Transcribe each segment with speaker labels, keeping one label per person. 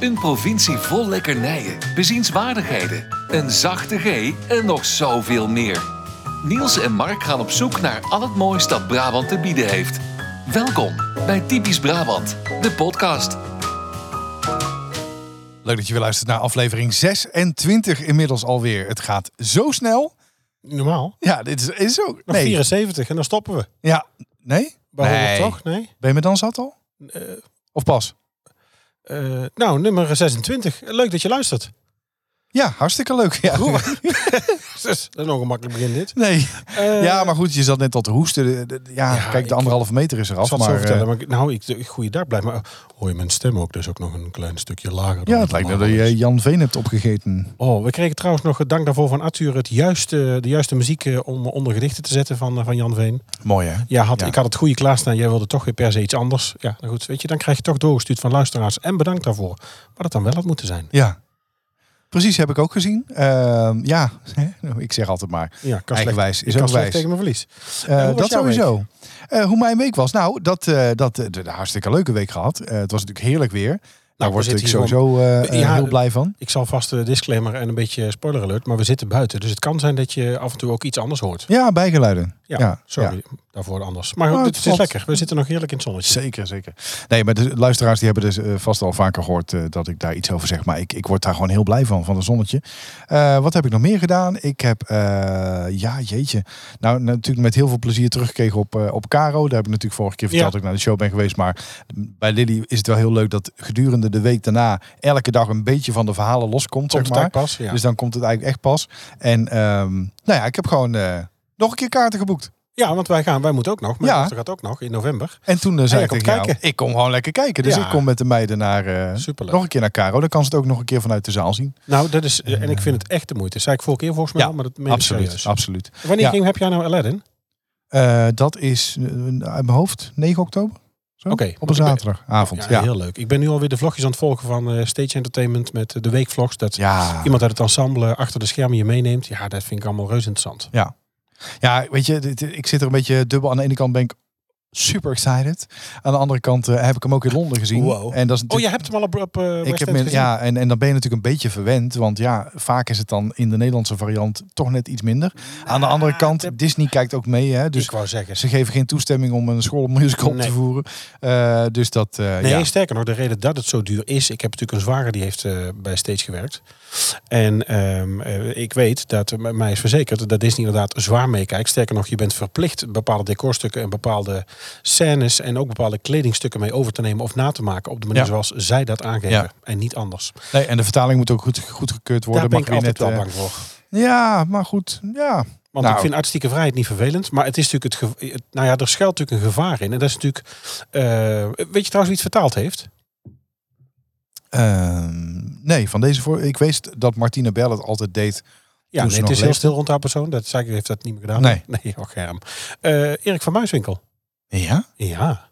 Speaker 1: Een provincie vol lekkernijen, bezienswaardigheden, een zachte G en nog zoveel meer. Niels en Mark gaan op zoek naar al het moois dat Brabant te bieden heeft. Welkom bij Typisch Brabant, de podcast.
Speaker 2: Leuk dat je weer luistert naar aflevering 26 inmiddels alweer. Het gaat zo snel.
Speaker 3: Normaal.
Speaker 2: Ja, dit is, is ook.
Speaker 3: Nog
Speaker 2: Nee.
Speaker 3: 74 en dan stoppen we.
Speaker 2: Ja, nee?
Speaker 3: Bij
Speaker 2: Nee.
Speaker 3: 100 toch? Nee.
Speaker 2: Ben je me dan zat al?
Speaker 3: Eh,
Speaker 2: Of pas?
Speaker 3: eh, nou, nummer 26. Leuk dat je luistert.
Speaker 2: Ja, hartstikke leuk. Ja.
Speaker 3: Dus, dat is nog een makkelijk begin dit.
Speaker 2: Nee.
Speaker 3: Eh,
Speaker 2: ja, maar goed, je zat net al te hoesten. De- de- de- Ja,
Speaker 3: Ja,
Speaker 2: kijk,
Speaker 3: ik-
Speaker 2: de anderhalve meter is
Speaker 3: ik
Speaker 2: eraf.
Speaker 3: zal het zo
Speaker 2: Maar, eh,
Speaker 3: vertellen. Maar, ik- nou, ik, ik goeie dag blijf. Maar Oh, hoor je mijn stem ook dus ook nog een klein stukje lager? dan
Speaker 2: ja, het lijkt me dat
Speaker 3: normaal
Speaker 2: je
Speaker 3: is.
Speaker 2: Jan Veen hebt opgegeten.
Speaker 3: Oh, we kregen trouwens nog eh, dank daarvoor van Arthur het juiste, de juiste muziek eh, om onder gedichten te zetten van, eh, van Jan Veen.
Speaker 2: Mooi, hè?
Speaker 3: Ja, had,
Speaker 2: Ja.
Speaker 3: ik had het goede klaarstaan. Jij wilde toch weer per se iets anders. Ja, nou goed, weet je, dan krijg je toch doorgestuurd van luisteraars. En bedankt daarvoor. Maar dat dan wel had moeten zijn.
Speaker 2: Ja. Precies, heb ik ook gezien. Ehm, ja, ik zeg altijd maar.
Speaker 3: Ja, kan slecht,
Speaker 2: Eigenwijs is
Speaker 3: kan
Speaker 2: ook
Speaker 3: slecht
Speaker 2: wijs.
Speaker 3: tegen mijn verlies.
Speaker 2: Eh,
Speaker 3: hoe was
Speaker 2: dat
Speaker 3: jouw
Speaker 2: sowieso. Eh, hoe mijn week was? Nou, dat, eh dat eh, een hartstikke leuke week gehad. Eh, het was natuurlijk heerlijk weer. Daar word
Speaker 3: Nou, zitten
Speaker 2: ik
Speaker 3: hier
Speaker 2: sowieso eh, eh,
Speaker 3: Ja,
Speaker 2: heel blij van.
Speaker 3: Ik zal vast een disclaimer en een beetje spoiler alert, maar we zitten buiten. Dus het kan zijn dat je af en toe ook iets anders hoort.
Speaker 2: Ja, bijgeluiden.
Speaker 3: Ja,
Speaker 2: ja,
Speaker 3: sorry
Speaker 2: ja.
Speaker 3: daarvoor anders. Maar
Speaker 2: Maar
Speaker 3: goed,
Speaker 2: het
Speaker 3: het, is
Speaker 2: valt-
Speaker 3: lekker. We zitten nog heerlijk in het zonnetje.
Speaker 2: Zeker, zeker. Nee, maar de luisteraars die hebben dus eh, vast al vaker gehoord eh, dat ik daar iets over zeg. Maar ik, ik word daar gewoon heel blij van, van een zonnetje. Eh, wat heb ik nog meer gedaan? Ik heb, eh, ja jeetje, nou natuurlijk met heel veel plezier teruggekregen op, eh, op Caro. Daar heb ik natuurlijk vorige keer verteld
Speaker 3: Ja.
Speaker 2: dat ik naar de show ben geweest. Maar bij Lily is het wel heel leuk dat gedurende de week daarna elke dag een beetje van de verhalen loskomt,
Speaker 3: Komt
Speaker 2: zeg
Speaker 3: het
Speaker 2: maar.
Speaker 3: daar pas? Ja.
Speaker 2: Dus dan komt het eigenlijk echt pas. En ehm, nou ja, ik heb gewoon eh, nog een keer kaarten geboekt.
Speaker 3: ja, want wij gaan, wij moeten ook nog. Mijn
Speaker 2: Ja.
Speaker 3: dochter gaat ook nog in november.
Speaker 2: En toen eh, zei
Speaker 3: jij
Speaker 2: ik
Speaker 3: komt
Speaker 2: tegen jou,
Speaker 3: kijken.
Speaker 2: ik kom gewoon lekker kijken. Dus
Speaker 3: Ja.
Speaker 2: ik kom met de meiden naar, eh,
Speaker 3: Superleuk.
Speaker 2: nog een keer naar Caro. Dan kan ze het ook nog een keer vanuit de zaal zien.
Speaker 3: Nou, dat is, en ik vind het echt de moeite. zei ik vorige keer volgens mij,
Speaker 2: Ja,
Speaker 3: al, maar dat meen ik
Speaker 2: absoluut,
Speaker 3: serieus.
Speaker 2: absoluut.
Speaker 3: Wanneer
Speaker 2: Ja.
Speaker 3: ging, heb jij nou Aladdin?
Speaker 2: Eh, dat is eh, uit mijn hoofd 9 oktober. Zo?
Speaker 3: Oké,
Speaker 2: Op een
Speaker 3: want ik ben-
Speaker 2: zaterdagavond.
Speaker 3: Ja,
Speaker 2: Ja, ja.
Speaker 3: heel leuk. Ik ben nu alweer de vlogjes aan het volgen van eh, Stage Entertainment met eh, de weekvlogs. Dat iemand uit het ensemble achter de schermen je meeneemt. Ja, dat vind ik allemaal reuze interessant.
Speaker 2: Ja, weet je, dit- ik zit er een beetje dubbel. Aan de ene kant ben ik super excited. Aan de andere kant eh, heb ik hem ook in Londen gezien.
Speaker 3: Wow.
Speaker 2: En dat is natuurlijk
Speaker 3: Oh, je hebt hem al op, op eh, West
Speaker 2: Ik heb
Speaker 3: End
Speaker 2: me,
Speaker 3: gezien?
Speaker 2: ja, en, en dan ben je natuurlijk een beetje verwend. Want ja, vaak is het dan in de Nederlandse variant toch net iets minder. Aan de andere kant,
Speaker 3: Ah, dat-
Speaker 2: Disney kijkt ook mee. Hè,
Speaker 3: dus
Speaker 2: dus
Speaker 3: ik wou zeggen.
Speaker 2: ze geven geen toestemming om een schoolmusical
Speaker 3: Nee.
Speaker 2: te voeren. Eh, dus dat, eh,
Speaker 3: Nee,
Speaker 2: ja.
Speaker 3: sterker nog, de reden dat het zo duur is. Ik heb natuurlijk een zwager die heeft eh, bij Stage gewerkt. En ehm, eh, ik weet dat, eh, mij is verzekerd, dat Disney inderdaad zwaar meekijkt. Sterker nog, je bent verplicht bepaalde decorstukken en bepaalde scènes en ook bepaalde kledingstukken mee over te nemen of na te maken op de manier
Speaker 2: Ja.
Speaker 3: zoals zij dat aangeven.
Speaker 2: Ja.
Speaker 3: En niet anders.
Speaker 2: Nee, en de vertaling moet ook goed, goedgekeurd worden.
Speaker 3: Daar ben
Speaker 2: mag
Speaker 3: ik
Speaker 2: weer
Speaker 3: altijd
Speaker 2: net, eh,
Speaker 3: wel bang voor.
Speaker 2: Ja, maar goed. Ja,
Speaker 3: Want
Speaker 2: Nou.
Speaker 3: ik vind artistieke vrijheid niet vervelend. Maar het is natuurlijk het, ge- het- Nou ja, er schuilt natuurlijk een gevaar in. En dat is natuurlijk. eh, weet je trouwens wie het vertaald heeft?
Speaker 2: Ehm, nee, van deze voor. Ik weet dat Martine Bell het altijd deed.
Speaker 3: Ja,
Speaker 2: Toen
Speaker 3: nee,
Speaker 2: ze
Speaker 3: het
Speaker 2: nog
Speaker 3: is heel
Speaker 2: leefde.
Speaker 3: stil rond haar persoon. Dat zei ik, heeft dat niet meer gedaan.
Speaker 2: Nee.
Speaker 3: Nee, och, germ. Eh, Erik van Muiswinkel.
Speaker 2: Ja,
Speaker 3: Ja.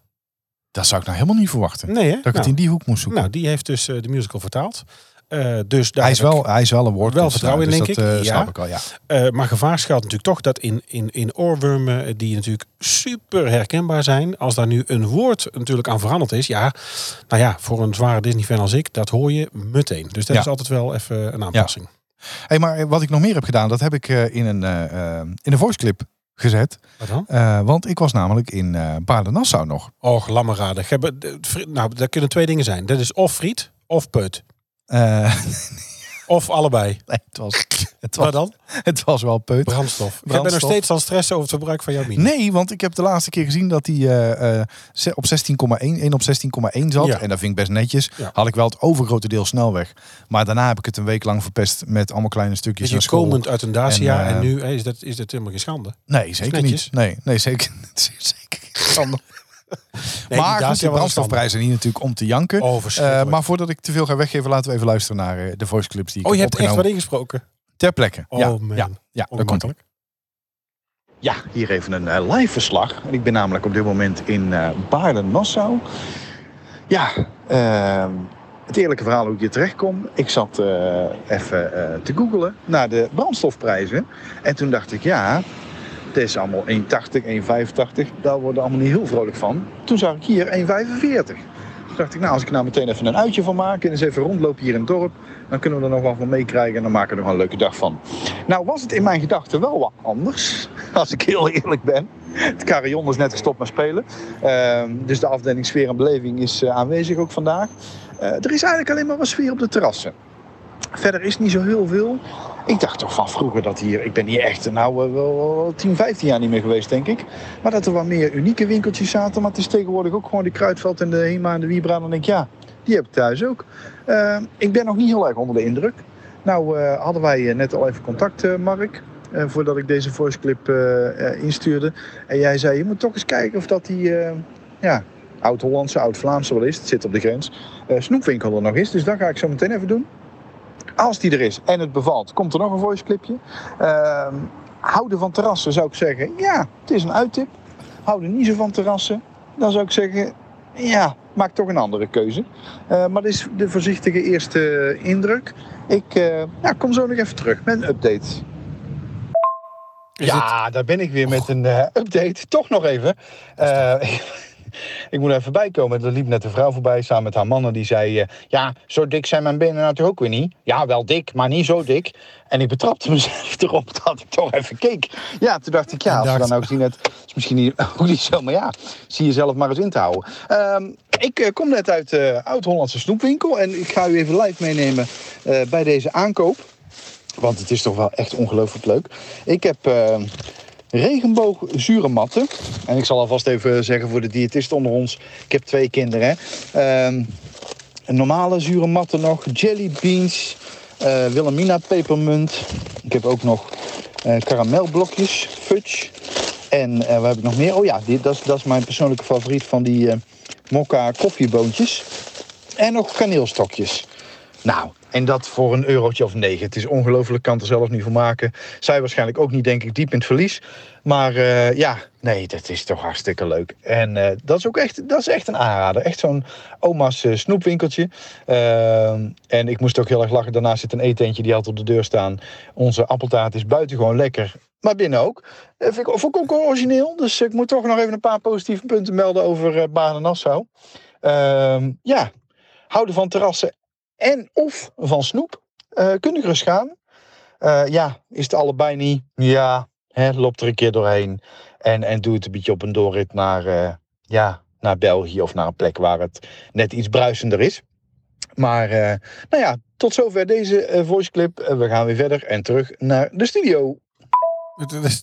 Speaker 2: dat zou ik nou helemaal niet verwachten.
Speaker 3: Nee, hè?
Speaker 2: Dat ik het in die hoek moest zoeken.
Speaker 3: Mm, nou, die heeft dus eh, de musical vertaald. Eh, dus daar
Speaker 2: hij, is
Speaker 3: heb ik-
Speaker 2: wel, hij is wel een woord.
Speaker 3: vertrouwen in,
Speaker 2: dus
Speaker 3: denk
Speaker 2: dat,
Speaker 3: ik.
Speaker 2: eh,
Speaker 3: Ja.
Speaker 2: snap ik al, ja.
Speaker 3: Eh, maar gevaar schuilt natuurlijk toch dat in, in, in oorwormen, eh, die natuurlijk super herkenbaar zijn, als daar nu een woord natuurlijk aan veranderd is, ja, nou ja, voor een zware Disney-fan als ik, dat hoor je meteen. Dus dat
Speaker 2: Ja.
Speaker 3: is altijd wel even een aanpassing.
Speaker 2: Hey, maar wat ik nog meer heb gedaan, dat heb ik eh, in een eh, eh, in een voice clip gezet.
Speaker 3: Wat dan?
Speaker 2: Eh, want ik was namelijk in eh Baarden-Nassau nog.
Speaker 3: Och, lammeraden. Ge- be- de- fri- Nou, dat kunnen twee dingen zijn. Dat is of friet, of peut.
Speaker 2: Eh,
Speaker 3: Of allebei.
Speaker 2: nee, het, was, het, was,
Speaker 3: Wat dan?
Speaker 2: het was wel peut.
Speaker 3: Brandstof. Ik ben nog
Speaker 2: Brandstof.
Speaker 3: steeds aan het stressen over het verbruik van jouw mini.
Speaker 2: Nee, want ik heb de laatste keer gezien dat hij eh, eh, ze- op 16,1 één op 16,1 zat.
Speaker 3: Ja.
Speaker 2: En dat vind ik best netjes.
Speaker 3: Ja.
Speaker 2: Had ik wel het overgrote deel snelweg. Maar daarna heb ik het een week lang verpest met allemaal kleine stukjes.
Speaker 3: je
Speaker 2: aan school.
Speaker 3: komend uit een Dacia en,
Speaker 2: En, eh,
Speaker 3: nu hé, is, dat, is dat helemaal geen schande.
Speaker 2: Nee, zeker
Speaker 3: netjes.
Speaker 2: niet. Nee, nee zeker, zeker niet. Sander.
Speaker 3: die
Speaker 2: maar
Speaker 3: Dacia
Speaker 2: goed,
Speaker 3: was
Speaker 2: de
Speaker 3: een
Speaker 2: brandstofprijzen zijn hier natuurlijk om te janken.
Speaker 3: Oh, verschrikkelijk.
Speaker 2: Eh, maar voordat ik te veel ga weggeven, laten we even luisteren naar eh, de voice clips die ik
Speaker 3: Oh, je
Speaker 2: heb
Speaker 3: hebt echt
Speaker 2: opgenomen.
Speaker 3: wat ingesproken.
Speaker 2: Ter plekke.
Speaker 3: Oh,
Speaker 2: ja,
Speaker 3: man.
Speaker 2: ja, ja, dat komt
Speaker 3: Ongemakkelijk.
Speaker 4: Ja, hier even een eh, live verslag. Ik ben namelijk op dit moment in eh, Baarden-Nassau. Ja, ehm, het eerlijke verhaal hoe ik hier terecht kom. Ik zat eh, even eh, te googlen naar de brandstofprijzen. En toen dacht ik, ja, het is allemaal 1,80, 1,85. Daar worden we allemaal niet heel vrolijk van. Toen zag ik hier 1,45.
Speaker 2: dacht ik, nou, als ik er nou meteen even een uitje van maak en eens even rondlopen hier in het dorp, dan kunnen we er nog wel van meekrijgen en dan maken we er nog een leuke dag van. Nou was het in mijn gedachten wel wat anders, als ik heel eerlijk ben. Het carillon is net gestopt met spelen, Ehm, dus de afdeling sfeer en beleving is eh, aanwezig ook vandaag. Eh, er is eigenlijk alleen maar wat sfeer op de terrassen. Verder is niet zo heel veel. Ik dacht toch van vroeger dat hier, ik ben hier echt nou eh, wel, wel, wel 10, 15 jaar niet meer geweest denk ik. Maar dat er wat meer unieke winkeltjes zaten. Maar het is tegenwoordig ook gewoon de Kruidveld en de Hema en de Wiebra. Dan denk ik, ja, die heb ik thuis ook. Eh, ik ben nog niet heel erg onder de indruk. Nou eh, hadden wij eh, net al even contact, eh, Mark. eh, voordat ik deze voice clip eh, eh, instuurde. En jij zei, je moet toch eens kijken of dat die... eh, ja, oud-Hollandse, oud-Vlaamse wel is. Het zit op de grens. Eh, snoepwinkel er nog is. Dus dat ga ik zo meteen even doen. Als die er is en het bevalt, komt er nog een voice clipje. Ehm, houden van terrassen zou ik zeggen, ja, het is een uittip houden niet zo van terrassen, dan zou ik zeggen, ja, maak toch een andere keuze. Eh, maar dit is de voorzichtige eerste indruk. Ik eh, ja, kom zo nog even terug met een update.
Speaker 3: Is
Speaker 2: ja, daar ben ik weer met een eh, update. Toch nog even. Eh, ik moet er even bij komen. Er liep net een vrouw voorbij samen met haar man. En die zei: eh, Ja, zo dik zijn mijn benen natuurlijk ook weer niet. Ja, wel dik, maar niet zo dik. En ik betrapte mezelf erop dat ik toch even keek. Ja, toen dacht ik: Ja, als we dan ook zien, het is misschien niet, ook niet zo. Maar ja, zie jezelf maar eens in te houden. Ehm, ik eh, kom net uit de Oud-Hollandse snoepwinkel. En ik ga u even live meenemen eh, bij deze aankoop. Want het is toch wel echt ongelooflijk leuk. Ik heb eh, regenboogzure matten. En ik zal alvast even zeggen voor de diëtisten onder ons. Ik heb twee kinderen. Hè. Ehm, een normale zure matten nog. Jelly beans. eh Wilhelmina pepermunt. Ik heb ook nog eh karamelblokjes. Fudge. En eh wat heb ik nog meer? Oh ja, die, dat, is, dat is mijn persoonlijke favoriet van die eh mokka koffieboontjes. En nog kaneelstokjes. Nou, en dat voor een eurotje of negen. Het is ongelooflijk, kan het er zelf niet voor maken. Zij waarschijnlijk ook niet, denk ik, diep in het verlies. Maar eh, ja, nee, dat is toch hartstikke leuk. En eh, dat is ook echt, dat is echt een aanrader. Echt zo'n oma's eh, snoepwinkeltje. Ehm, en ik moest ook heel erg lachen. Daarnaast zit een eetentje die had op de deur staan. Onze appeltaart is buitengewoon lekker. Maar binnen ook. Eh, Vind ik ook origineel. Dus ik moet toch nog even een paar positieve punten melden over eh Baden Nassau. Ehm, ja, houden van terrassen en of van snoep. eh kunnen gerust gaan. Eh, ja, is het allebei niet? Ja, hè, loop er een keer doorheen. En, en doe het een beetje op een doorrit naar, eh, ja, naar België of naar een plek waar het net iets bruisender is. Maar eh, nou ja, tot zover deze eh, voiceclip. Eh, we gaan weer verder en terug naar de studio.
Speaker 3: Het is